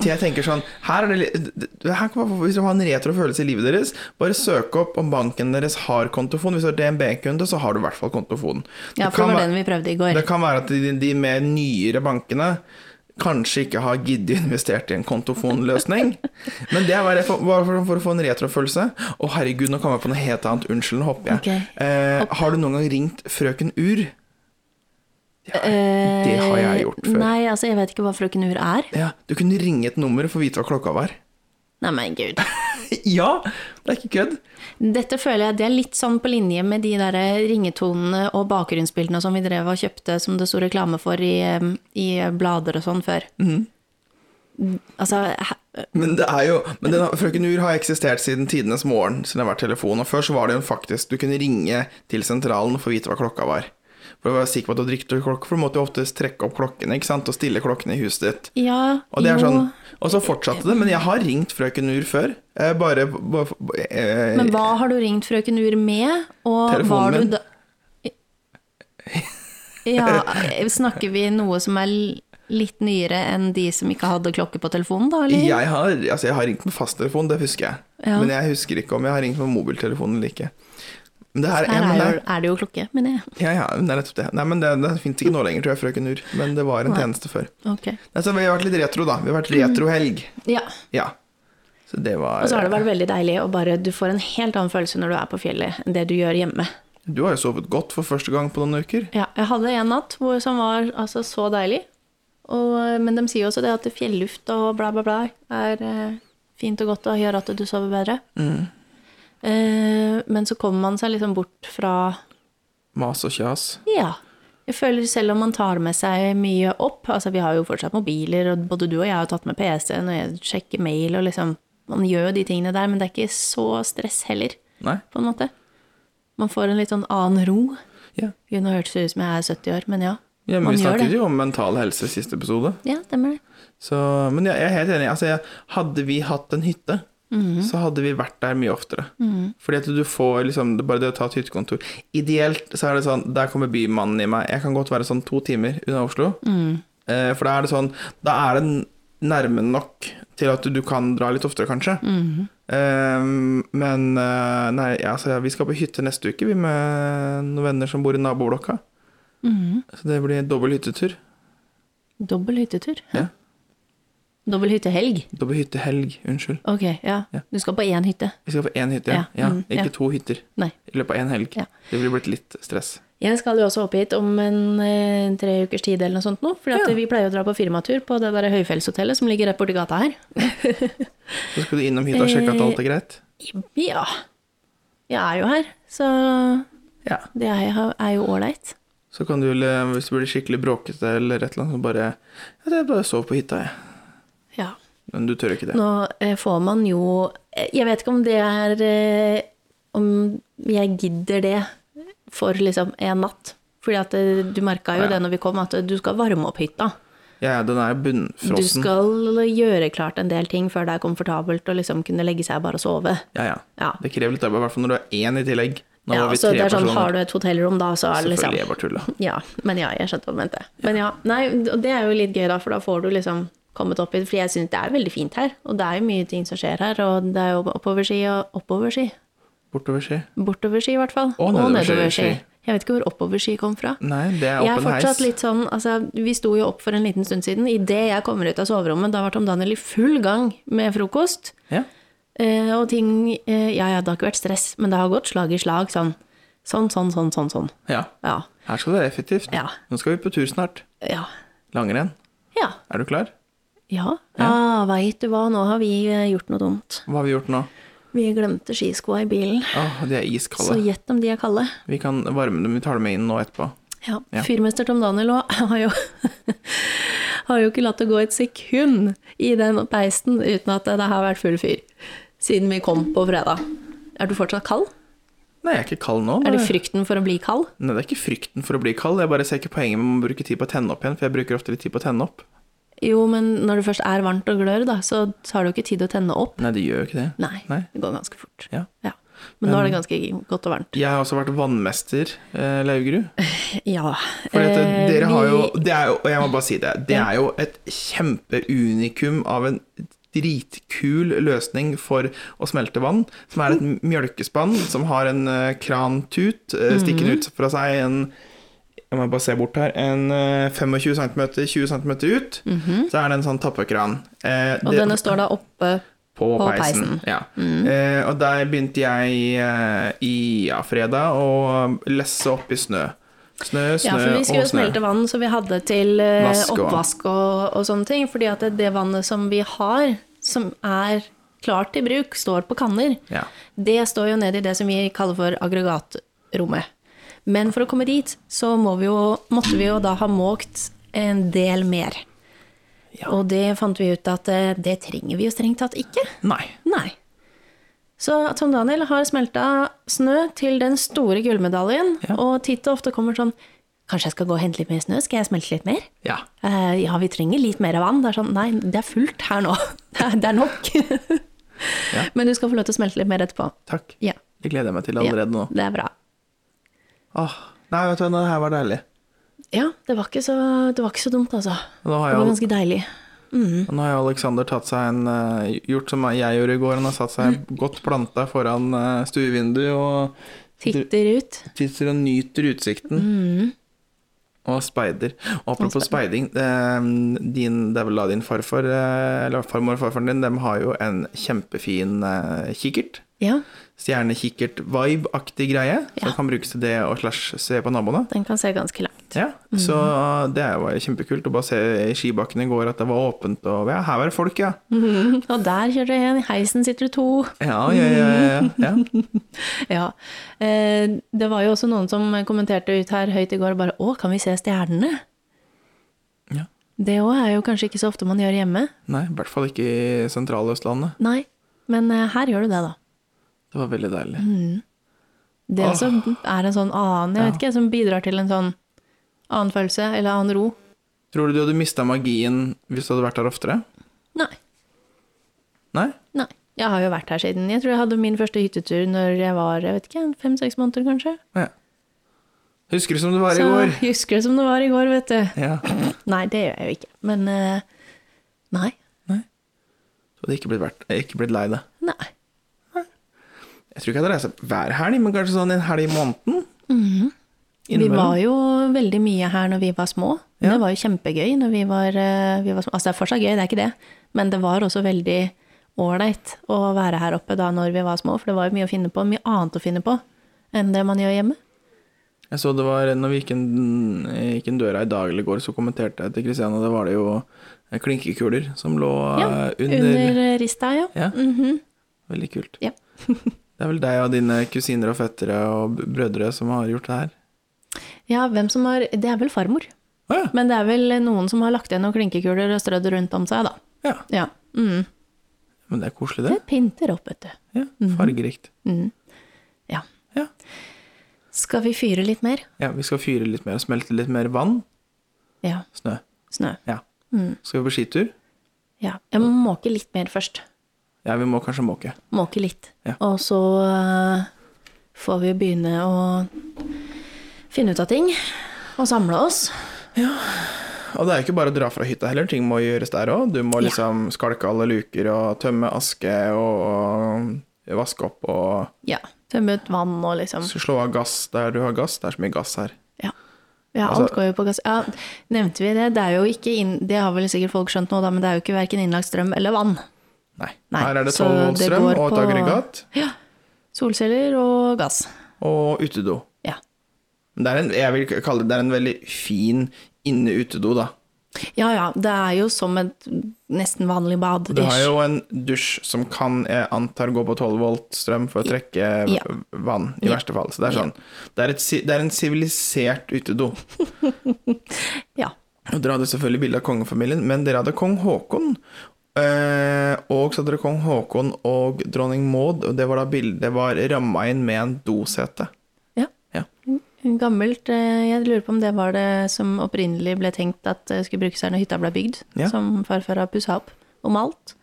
Speaker 1: Så jeg tenker sånn, her er det, li- det her kan man, få- Hvis du har en retro følelse i livet deres, bare søk opp om banken deres har kontofon. Hvis du er DNB-kunde, så har du i hvert fall kontofonen.
Speaker 2: ja, for det var den vi prøvde i går.
Speaker 1: det kan være at de, de mer nyere bankene kanskje ikke har giddet investert i en <laughs> kontofonløsning. Men det er bare for, bare for, for å få en retrofølelse. Å, herregud, nå kom jeg på noe helt annet. Unnskyld, nå hopper jeg.
Speaker 2: Ok.
Speaker 1: Eh, har du noen gang ringt frøken Ur? Ja, det har jeg gjort før.
Speaker 2: Nei, altså, jeg vet ikke hva frøken Ur er.
Speaker 1: Ja, du kunne ringe et nummer og få vite hva klokka var.
Speaker 2: Nei, men gud.
Speaker 1: Ja, det er ikke kødd.
Speaker 2: Dette føler jeg det er litt sånn på linje med de der ringetonene og bakgrunnsbildene som vi drev og kjøpte som det sto reklame for i, eh, i blader og sånn før.
Speaker 1: Mhm.
Speaker 2: Altså, he-
Speaker 1: Men det er jo men den, har- Frøken Ur har eksistert siden tidenes morgen, siden det har vært telefon. Og før så var det jo faktisk Du kunne ringe til sentralen og få vite hva klokka var. For å være sikker på at du hadde riktig klokke, for du måtte jo oftest trekke opp klokkene ikke sant? og stille klokkene i huset ditt.
Speaker 2: ja,
Speaker 1: Og det er
Speaker 2: jo.
Speaker 1: sånn, og så fortsatte det, men jeg har ringt frøken Ur før. Eh, bare, bare eh,
Speaker 2: Men hva har du ringt frøken Ur med, og
Speaker 1: Telefonen
Speaker 2: var du
Speaker 1: min.
Speaker 2: da Ja, snakker vi noe som er l- litt nyere enn de som ikke hadde klokke på telefonen, da, eller?
Speaker 1: jeg, har, altså, jeg har ringt med fasttelefon, det husker jeg.
Speaker 2: Ja.
Speaker 1: Men jeg husker ikke om jeg har ringt med mobiltelefon eller ikke. Men det her, ja,
Speaker 2: Her
Speaker 1: men
Speaker 2: er,
Speaker 1: det er-
Speaker 2: jo, er det jo klokke, mener jeg.
Speaker 1: Ja, ja, men det er nettopp det. Nei, men det, det fins ikke nå lenger, tror jeg, frøken Ur. Men det var en
Speaker 2: Nei.
Speaker 1: tjeneste før.
Speaker 2: Ok.
Speaker 1: Nei, så Altså, vi har vært litt retro, da. Vi har vært retrohelg.
Speaker 2: Ja.
Speaker 1: Ja. Så det var
Speaker 2: Mm. Og så har det vært veldig deilig å bare Du får en helt annen følelse når du er på fjellet enn det du gjør hjemme.
Speaker 1: Du har jo sovet godt for første gang på noen uker.
Speaker 2: Ja, jeg hadde en natt hvor, som var altså så deilig. Og, eh, men de sier jo også det at fjelluft og bla, bla, bla er eh, fint og godt og gjør at du sover bedre. Eh, men så kommer man seg liksom bort fra
Speaker 1: Mas og kjas.
Speaker 2: Ja. Jeg føler selv om man tar med seg mye opp Altså, vi har jo fortsatt mobiler, og både du og jeg har tatt med PC-en, og jeg sjekker mail, og liksom Man gjør jo de tingene der, men det er ikke så stress heller.
Speaker 1: Nei.
Speaker 2: på en måte. Man får en litt sånn annen ro.
Speaker 1: Ja.
Speaker 2: Gud, nå hørtes det ut som jeg er 70 år, men ja.
Speaker 1: Ja, men
Speaker 2: man
Speaker 1: vi
Speaker 2: gjør
Speaker 1: snakket
Speaker 2: det.
Speaker 1: jo om mental helse i siste episode.
Speaker 2: Ja, stemmer det.
Speaker 1: Så, men jeg jeg er helt enig. Altså, jeg, hadde vi hatt en hytte, så hadde vi vært der mye oftere. Fordi at du får liksom det er Bare det å ta et hyttekontor Ideelt så er det sånn Der kommer bymannen i meg. Jeg kan godt være sånn to timer unna Oslo. Eh, for da er det sånn Da er det n- nærme nok til at du kan dra litt oftere, kanskje. Eh, men eh, nei, altså, vi skal på hytte neste uke, vi med noen venner som bor i naboblokka. Så det blir dobbel hyttetur.
Speaker 2: Dobbel hyttetur?
Speaker 1: Ja.
Speaker 2: Dobbel hyttehelg?
Speaker 1: Dobbel hyttehelg, unnskyld.
Speaker 2: Ok, ja.
Speaker 1: Ja.
Speaker 2: Du skal på én hytte.
Speaker 1: Vi skal på én hytte, ja.
Speaker 2: Ja,
Speaker 1: ja.
Speaker 2: mm,
Speaker 1: Ikke
Speaker 2: ja.
Speaker 1: to hytter
Speaker 2: Nei.
Speaker 1: i løpet av én helg.
Speaker 2: Ja.
Speaker 1: Det ville blitt litt stress.
Speaker 2: Jeg skal jo også opp hit om en eh, tre ukers tid eller noe sånt nå. For at
Speaker 1: Ja.
Speaker 2: vi pleier å dra på firmatur på det der høyfjellshotellet som ligger rett borti gata her.
Speaker 1: Så skal du innom hytta og sjekke at alt er greit?
Speaker 2: Ja. Jeg er jo her, så
Speaker 1: Ja.
Speaker 2: det er, er jo ålreit.
Speaker 1: Så kan du, vel, eh, hvis du blir skikkelig bråkete eller et eller annet, så bare Ja, det er bare å sove på hytta, jeg.
Speaker 2: Ja.
Speaker 1: Men du tør ikke det.
Speaker 2: Nå eh, får man jo eh, Jeg vet ikke om det er eh, Om jeg gidder det for liksom en natt. Fordi at eh, du merka jo
Speaker 1: Ja.
Speaker 2: det når vi kom, at eh, du skal varme opp hytta.
Speaker 1: Ja, ja, den er
Speaker 2: Du
Speaker 1: bunnfrossen.
Speaker 2: skal gjøre klart en del ting før det er komfortabelt å liksom kunne legge seg og bare sove.
Speaker 1: Ja, ja,
Speaker 2: Ja.
Speaker 1: Det krever litt arbeid, i hvert fall når du har én i tillegg. Nå
Speaker 2: Ja,
Speaker 1: var vi
Speaker 2: så
Speaker 1: tre
Speaker 2: det er sånn,
Speaker 1: personer.
Speaker 2: har du et hotellrom da, så er det liksom
Speaker 1: Selvfølgelig, jeg bare tulla.
Speaker 2: Ja, men ja, jeg skjønte hva du mente. Men ja, nei, og det er jo litt gøy da, for da får du liksom kommet opp i det. For jeg syns det er veldig fint her, og det er jo mye ting som skjer her. Og det er jo oppoverski og oppoverski.
Speaker 1: Bortover ski.
Speaker 2: Bortoverski i hvert fall.
Speaker 1: Og nedoverski.
Speaker 2: Jeg vet ikke hvor oppoverski kom fra.
Speaker 1: Nei, det er
Speaker 2: Jeg er
Speaker 1: åpen heis.
Speaker 2: fortsatt litt sånn, altså Vi sto jo opp for en liten stund siden. Idet jeg kommer ut av soverommet, da var Tom Daniel i full gang med frokost.
Speaker 1: Ja.
Speaker 2: Eh, og ting eh, Ja ja, det har ikke vært stress, men det har gått slag i slag. Sånn, sånn, sånn, sånn. sånn, sånn.
Speaker 1: ja.
Speaker 2: Ja.
Speaker 1: Her skal det være effektivt.
Speaker 2: Ja.
Speaker 1: Nå skal vi på tur snart.
Speaker 2: Ja.
Speaker 1: Langrenn.
Speaker 2: Ja.
Speaker 1: Er du klar?
Speaker 2: ja. Ah, Veit du hva, nå har vi eh, gjort noe dumt.
Speaker 1: Hva har vi gjort nå?
Speaker 2: Vi glemte skiskoa i bilen.
Speaker 1: Åh, de er
Speaker 2: Så
Speaker 1: iskalde.
Speaker 2: gjett om de er kalde.
Speaker 1: Vi kan varme dem, vi tar dem med inn nå etterpå.
Speaker 2: Ja.
Speaker 1: Ja.
Speaker 2: Fyrmester Tom Daniel òg <laughs> har jo Har jo ikke latt det gå et sekund i den peisen uten at det har vært full fyr. Siden vi kom på fredag. Er du fortsatt kald?
Speaker 1: Nei, jeg er ikke kald nå.
Speaker 2: Er det
Speaker 1: nei.
Speaker 2: frykten for å bli kald?
Speaker 1: Nei, det er ikke frykten for å bli kald, jeg bare ser ikke poenget med å bruke tid på å tenne opp igjen, for jeg bruker ofte litt tid på å tenne opp.
Speaker 2: Jo, men når det først er varmt og glør, da, så har du ikke tid å tenne opp.
Speaker 1: Nei, det gjør jo ikke det.
Speaker 2: Nei,
Speaker 1: Nei.
Speaker 2: det går ganske fort.
Speaker 1: Ja. Um,
Speaker 2: Ja. Men nå er det ganske godt og varmt.
Speaker 1: Jeg har også vært vannmester, eh, Laugrud.
Speaker 2: Ja.
Speaker 1: For dette,
Speaker 2: eh,
Speaker 1: dere har jo,
Speaker 2: vi-
Speaker 1: det er jo, og jeg må bare si det, det er jo et kjempeunikum av en dritkul løsning for å smelte vann, som er
Speaker 2: Mm.
Speaker 1: et mjølkespann som har en eh, krantut, eh, stikkende ut fra seg en jeg må bare se bort her, en eh, 25 cm, 20 cm ut, så er det en sånn tappekran. Eh,
Speaker 2: Mhm. Og
Speaker 1: det-
Speaker 2: denne står da oppe
Speaker 1: På,
Speaker 2: På
Speaker 1: peisen.
Speaker 2: peisen. Mm.
Speaker 1: Ja. Eh, og der begynte jeg eh, i ja, fredag å lesse opp i snø. Snø, snø
Speaker 2: Ja, for vi skulle
Speaker 1: og
Speaker 2: jo
Speaker 1: snø.
Speaker 2: smelte vann som vi hadde til eh,
Speaker 1: Vask og-
Speaker 2: oppvask og, og sånne ting. Fordi at det, det vannet som vi har, som er klart til bruk, står på kanner.
Speaker 1: Ja.
Speaker 2: Det står jo nede i det som vi kaller for aggregatrommet. Men for å komme dit, så må vi jo, måtte vi jo da ha måkt en del mer. Og det fant vi ut at eh, det trenger vi jo strengt tatt ikke.
Speaker 1: Nei.
Speaker 2: Nei. Så Tom Daniel har smelta snø til den store gullmedaljen,
Speaker 1: Ja.
Speaker 2: og titt og ofte kommer sånn Kanskje jeg skal gå og hente litt mer snø? Skal jeg smelte litt mer?
Speaker 1: Ja.
Speaker 2: «Eh, ja, vi trenger litt mer vann. Det er sånn, nei, det er fullt her nå. <laughs> Det er, det er nok. <laughs> Men du skal få lov til å smelte litt mer etterpå.
Speaker 1: Takk.
Speaker 2: Ja.
Speaker 1: Det gleder jeg meg til
Speaker 2: ja,
Speaker 1: allerede nå.
Speaker 2: Det er bra.
Speaker 1: Åh, nei, vet du hva, det her var deilig.
Speaker 2: Ja, det var ikke så, det var ikke så dumt, altså.
Speaker 1: Og Nå har,
Speaker 2: Det var
Speaker 1: jeg,
Speaker 2: ganske deilig.
Speaker 1: og nå har jeg Alexander tatt seg en, eh, gjort som jeg gjorde i går. Han har satt seg
Speaker 2: Mm.
Speaker 1: godt planta foran eh, stuevinduet og
Speaker 2: Titter ut.
Speaker 1: sitter og nyter utsikten.
Speaker 2: Mm.
Speaker 1: Og speider. Og apropos speiding, eh, din, det er vel da din farfar, eh, eller farmor og farfaren din, de har jo en kjempefin eh, kikkert.
Speaker 2: Ja,
Speaker 1: Stjernekikkert-vibe-aktig greie,
Speaker 2: Ja.
Speaker 1: som kan brukes til det og slash se på naboene.
Speaker 2: den kan se ganske langt.
Speaker 1: Ja, Så det er jo kjempekult å bare se i skibakken i går at det var åpent og ja, her var det folk, ja.
Speaker 2: Mm. <laughs> Og der kjører det en, i heisen sitter det to.
Speaker 1: Ja, ja, ja.
Speaker 2: <laughs>
Speaker 1: ja, ja. ja.
Speaker 2: Ja. Eh, det var jo også noen som kommenterte ut her høyt i går bare Å, kan vi se stjernene?
Speaker 1: ja.
Speaker 2: Det òg er jo kanskje ikke så ofte man gjør hjemme.
Speaker 1: Nei, i hvert fall ikke i sentraløstlandet.
Speaker 2: Nei. Men eh, her gjør du det, da.
Speaker 1: Det var veldig deilig.
Speaker 2: Mm. Det også er en sånn annen, jeg vet ikke, som bidrar til en sånn annen følelse eller annen ro.
Speaker 1: Tror du du hadde mista magien hvis du hadde vært der oftere?
Speaker 2: Nei.
Speaker 1: Nei?
Speaker 2: Nei. Jeg har jo vært her siden. Jeg tror jeg hadde min første hyttetur når jeg var jeg vet ikke, fem-seks måneder, kanskje.
Speaker 1: Ja. Husker du som det var
Speaker 2: Så
Speaker 1: i går?
Speaker 2: jeg <laughs> husker det som det var i går, vet du.
Speaker 1: Ja.
Speaker 2: Nei, det gjør jeg jo ikke. Men eh, nei.
Speaker 1: Så hadde jeg ikke blitt, vært, jeg hadde ikke blitt lei det.
Speaker 2: Nei.
Speaker 1: Jeg tror ikke jeg hadde reist hver helg, men kanskje sånn en helg i måneden.
Speaker 2: Mm. Vi var jo veldig mye her når vi var små. Det var jo kjempegøy når vi var, eh, vi var små. Altså det er fortsatt gøy, det er ikke det. Men det var også veldig ålreit å være her oppe da når vi var små, for det var jo mye å finne på. Mye annet å finne på enn det man gjør hjemme.
Speaker 1: Jeg så det var, når vi gikk inn, gikk inn døra i dag eller i går, så kommenterte jeg til Kristiane, og da var det jo eh, klinkekuler som lå eh, under.
Speaker 2: Under rista, ja. Mhm.
Speaker 1: Ja. Veldig kult.
Speaker 2: Ja.
Speaker 1: <laughs> det er vel deg og dine kusiner og fettere og b- brødre som har gjort det her?
Speaker 2: Ja, hvem som har Det er vel farmor.
Speaker 1: Å ja.
Speaker 2: Men det er vel noen som har lagt igjen noen klinkekuler og strødd rundt om seg, da.
Speaker 1: ja.
Speaker 2: Ja. Mm.
Speaker 1: Men det er koselig, det.
Speaker 2: Det pynter opp, vet du.
Speaker 1: Ja,
Speaker 2: Mhm.
Speaker 1: Fargerikt.
Speaker 2: Ja.
Speaker 1: Ja.
Speaker 2: Skal vi fyre litt mer?
Speaker 1: ja. Vi skal fyre litt mer og smelte litt mer vann.
Speaker 2: Ja.
Speaker 1: Snø.
Speaker 2: Snø.
Speaker 1: Ja.
Speaker 2: Mm.
Speaker 1: Skal vi på skitur?
Speaker 2: Ja. Jeg må måke litt mer først.
Speaker 1: Ja, vi må kanskje måke.
Speaker 2: Måke litt.
Speaker 1: Ja.
Speaker 2: Og så eh, får vi begynne å finne ut av ting. Og samle oss.
Speaker 1: Og det er jo ikke bare å dra fra hytta heller, ting må gjøres der òg. Du må
Speaker 2: Ja.
Speaker 1: liksom skalke alle luker og tømme aske og, og vaske opp og
Speaker 2: Ja. Tømme ut vann og liksom
Speaker 1: slå av gass der du har gass. Det er så mye gass her.
Speaker 2: Ja. Ja,
Speaker 1: Altså-
Speaker 2: alt går jo på gass. Ja, nevnte vi det? Det er jo ikke inn... Det har vel sikkert folk skjønt nå, da, men det er jo ikke verken innlagt strøm eller vann.
Speaker 1: Nei.
Speaker 2: Nei,
Speaker 1: her er det
Speaker 2: så
Speaker 1: 12 volt
Speaker 2: det
Speaker 1: strøm
Speaker 2: går
Speaker 1: og et
Speaker 2: på-
Speaker 1: aggregat
Speaker 2: Ja. Solceller og gass.
Speaker 1: og utedo.
Speaker 2: Ja.
Speaker 1: Men Det er en, jeg vil kalle det, det er en veldig fin inne-utedo, da.
Speaker 2: Ja ja, det er jo som et nesten vanlig bad.
Speaker 1: Du har
Speaker 2: ish.
Speaker 1: jo en dusj som kan, jeg antar, gå på 12 volt strøm for å trekke
Speaker 2: Ja.
Speaker 1: vann, i verste fall. Så det er sånn. Det er, et, si- det er en sivilisert utedo.
Speaker 2: Ja.
Speaker 1: Og dere hadde selvfølgelig bilde av kongefamilien, men dere hadde kong Haakon. Eh, og så hadde dere kong Haakon og dronning Maud, og det var da bildet Det var ramma inn med en dosete.
Speaker 2: ja.
Speaker 1: Ja.
Speaker 2: Gammelt. eh, Jeg lurer på om det var det som opprinnelig ble tenkt at det skulle brukes her når hytta ble bygd,
Speaker 1: Ja.
Speaker 2: som farfar har pussa opp og malt.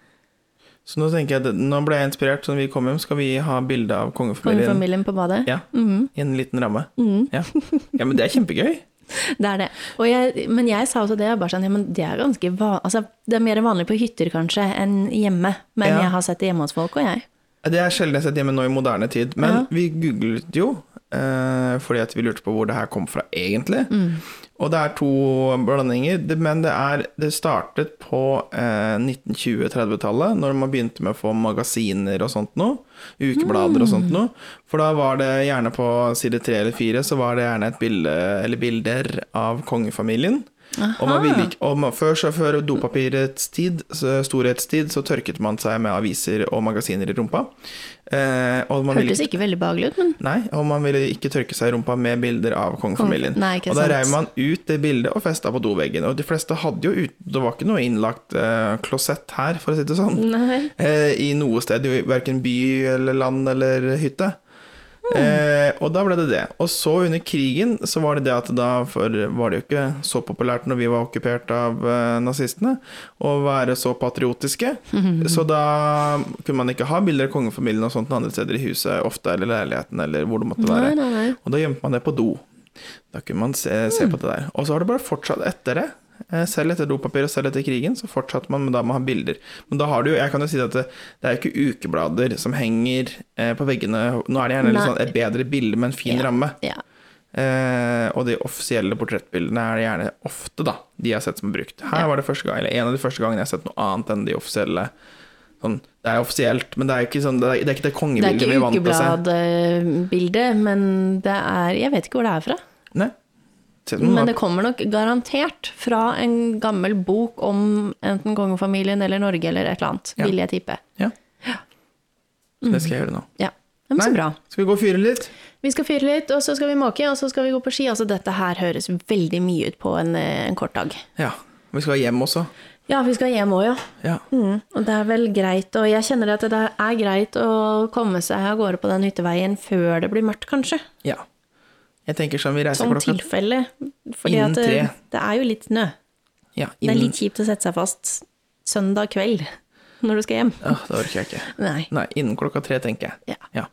Speaker 1: Så nå tenker jeg at nå ble jeg inspirert, så når vi kommer hjem, skal vi ha bilde av kongefamilien.
Speaker 2: Kongefamilien på badet. Mhm,
Speaker 1: Ja, I en liten ramme. Ja. ja, men det er kjempegøy.
Speaker 2: Det er det. Og jeg, men jeg sa også det, jeg bare sånn, ja, men det er ganske van... Altså, det er mer vanlig på hytter kanskje enn hjemme, men
Speaker 1: Ja.
Speaker 2: jeg har sett det hjemme hos folk og jeg.
Speaker 1: Det er sjelden jeg har sett hjemme nå i moderne tid, men
Speaker 2: Ja.
Speaker 1: vi googlet jo eh, fordi at vi lurte på hvor det her kom fra egentlig. Og det er to blandinger, det- men det, er, det startet på eh, 1920-30-tallet, når man begynte med å få magasiner og sånt noe, ukeblader og sånt noe. For da var det gjerne på side tre eller fire, så var det gjerne et bilde, eller bilder av kongefamilien. Og, man ville ikke, og man, før, så før dopapirets tid, så- storhetstid, så tørket man seg med aviser og magasiner i rumpa. Eh, og man ville
Speaker 2: Hørtes ikke veldig behagelig ut, men
Speaker 1: Nei, og man ville ikke tørke seg i rumpa med bilder av kongefamilien.
Speaker 2: Kong- nei, ikke
Speaker 1: og da
Speaker 2: sant.
Speaker 1: reiv man ut det bildet og festa på doveggen. Og de fleste hadde jo ut, Det var ikke noe innlagt eh, klosett her, for å si det sånn.
Speaker 2: <laughs> Nei.
Speaker 1: Eh, I noe sted, i verken by eller land eller hytte. Eh, og da ble det det. Og så under krigen så var det det at da for var det jo ikke så populært når vi var okkupert av eh, nazistene, å være så patriotiske. Så da kunne man ikke ha bilder av kongefamilien og sånt andre steder i huset ofte, eller leiligheten, eller hvor det måtte være.
Speaker 2: Nei, nei, nei.
Speaker 1: Og da gjemte man det på do. Da kunne man se,
Speaker 2: Hmm.
Speaker 1: se på det der. Og så har det bare fortsatt etter det. Eh, Selv etter dopapir og selv etter krigen, så fortsatte man med da med å ha bilder. Men da har du jo, jeg kan jo si at det, det er jo ikke ukeblader som henger eh, på veggene Nå er det gjerne litt
Speaker 2: Nei.
Speaker 1: sånn et bedre bilde med en fin
Speaker 2: Ja.
Speaker 1: ramme.
Speaker 2: ja.
Speaker 1: Eh, og de offisielle portrettbildene er det gjerne ofte, da, de jeg har sett som er brukt. Her var det første gang, eller en av de første gangene jeg har sett noe annet enn de offisielle sånn, Det er offisielt, men det er jo ikke sånn Det er, det er ikke det
Speaker 2: Det er
Speaker 1: kongebildet vi
Speaker 2: ikke
Speaker 1: er vant til å se.
Speaker 2: ukebladbildet, men det er Jeg vet ikke hvor det er fra.
Speaker 1: Nei. Ser ut som noen
Speaker 2: Men
Speaker 1: har-
Speaker 2: det kommer nok garantert fra en gammel bok om enten kongefamilien eller Norge eller et eller annet,
Speaker 1: Ja.
Speaker 2: vil jeg tippe.
Speaker 1: Ja. Så det skal
Speaker 2: Mm.
Speaker 1: jeg gjøre nå.
Speaker 2: Ja. Men så
Speaker 1: Nei,
Speaker 2: bra.
Speaker 1: Skal vi gå og fyre litt?
Speaker 2: Vi skal fyre litt, og så skal vi måke, og så skal vi gå på ski. Altså, dette her høres veldig mye ut på en, eh, en kort dag.
Speaker 1: Ja. Vi skal hjem også.
Speaker 2: Ja, vi skal hjem òg, ja.
Speaker 1: Ja.
Speaker 2: Mm. Og det er vel greit, og jeg kjenner at det er greit å komme seg av gårde på den hytteveien før det blir mørkt, kanskje.
Speaker 1: ja. Jeg tenker sånn vi reiser
Speaker 2: Sånn
Speaker 1: klokka
Speaker 2: tilfelle. Fordi
Speaker 1: Innen
Speaker 2: at eh, det,
Speaker 1: tre.
Speaker 2: det er jo litt snø.
Speaker 1: ja,
Speaker 2: Det er
Speaker 1: innen-
Speaker 2: litt kjipt å sette seg fast søndag kveld. når du skal hjem.
Speaker 1: Ja, det orker jeg ikke.
Speaker 2: Nei.
Speaker 1: Nei, innen klokka tre, tenker jeg.
Speaker 2: Ja.
Speaker 1: Ja.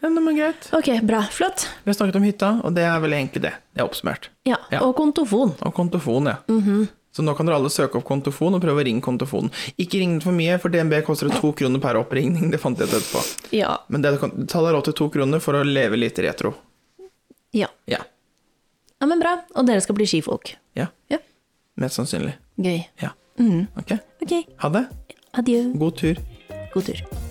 Speaker 1: Ja, men greit.
Speaker 2: Ok, bra. Flott.
Speaker 1: Vi har snakket om hytta, og det er vel egentlig det. Det er oppsummert.
Speaker 2: Ja.
Speaker 1: Ja.
Speaker 2: Og kontofon.
Speaker 1: Og kontofon, ja.
Speaker 2: Mhm.
Speaker 1: Så nå kan dere alle søke opp kontofon og prøve å ringe kontofonen. Ikke ring den for mye, for DNB koster det to kroner per oppringning. Det fant jeg ut etterpå.
Speaker 2: Ja.
Speaker 1: Men det kan- ta deg råd til to kroner for å leve litt retro.
Speaker 2: ja.
Speaker 1: Ja.
Speaker 2: Ja, men bra. Og dere skal bli skifolk.
Speaker 1: ja.
Speaker 2: Ja.
Speaker 1: Mest sannsynlig.
Speaker 2: Gøy.
Speaker 1: Ja. Ok.
Speaker 2: Ok.
Speaker 1: Ha det.
Speaker 2: Adjø.
Speaker 1: God tur.
Speaker 2: God tur.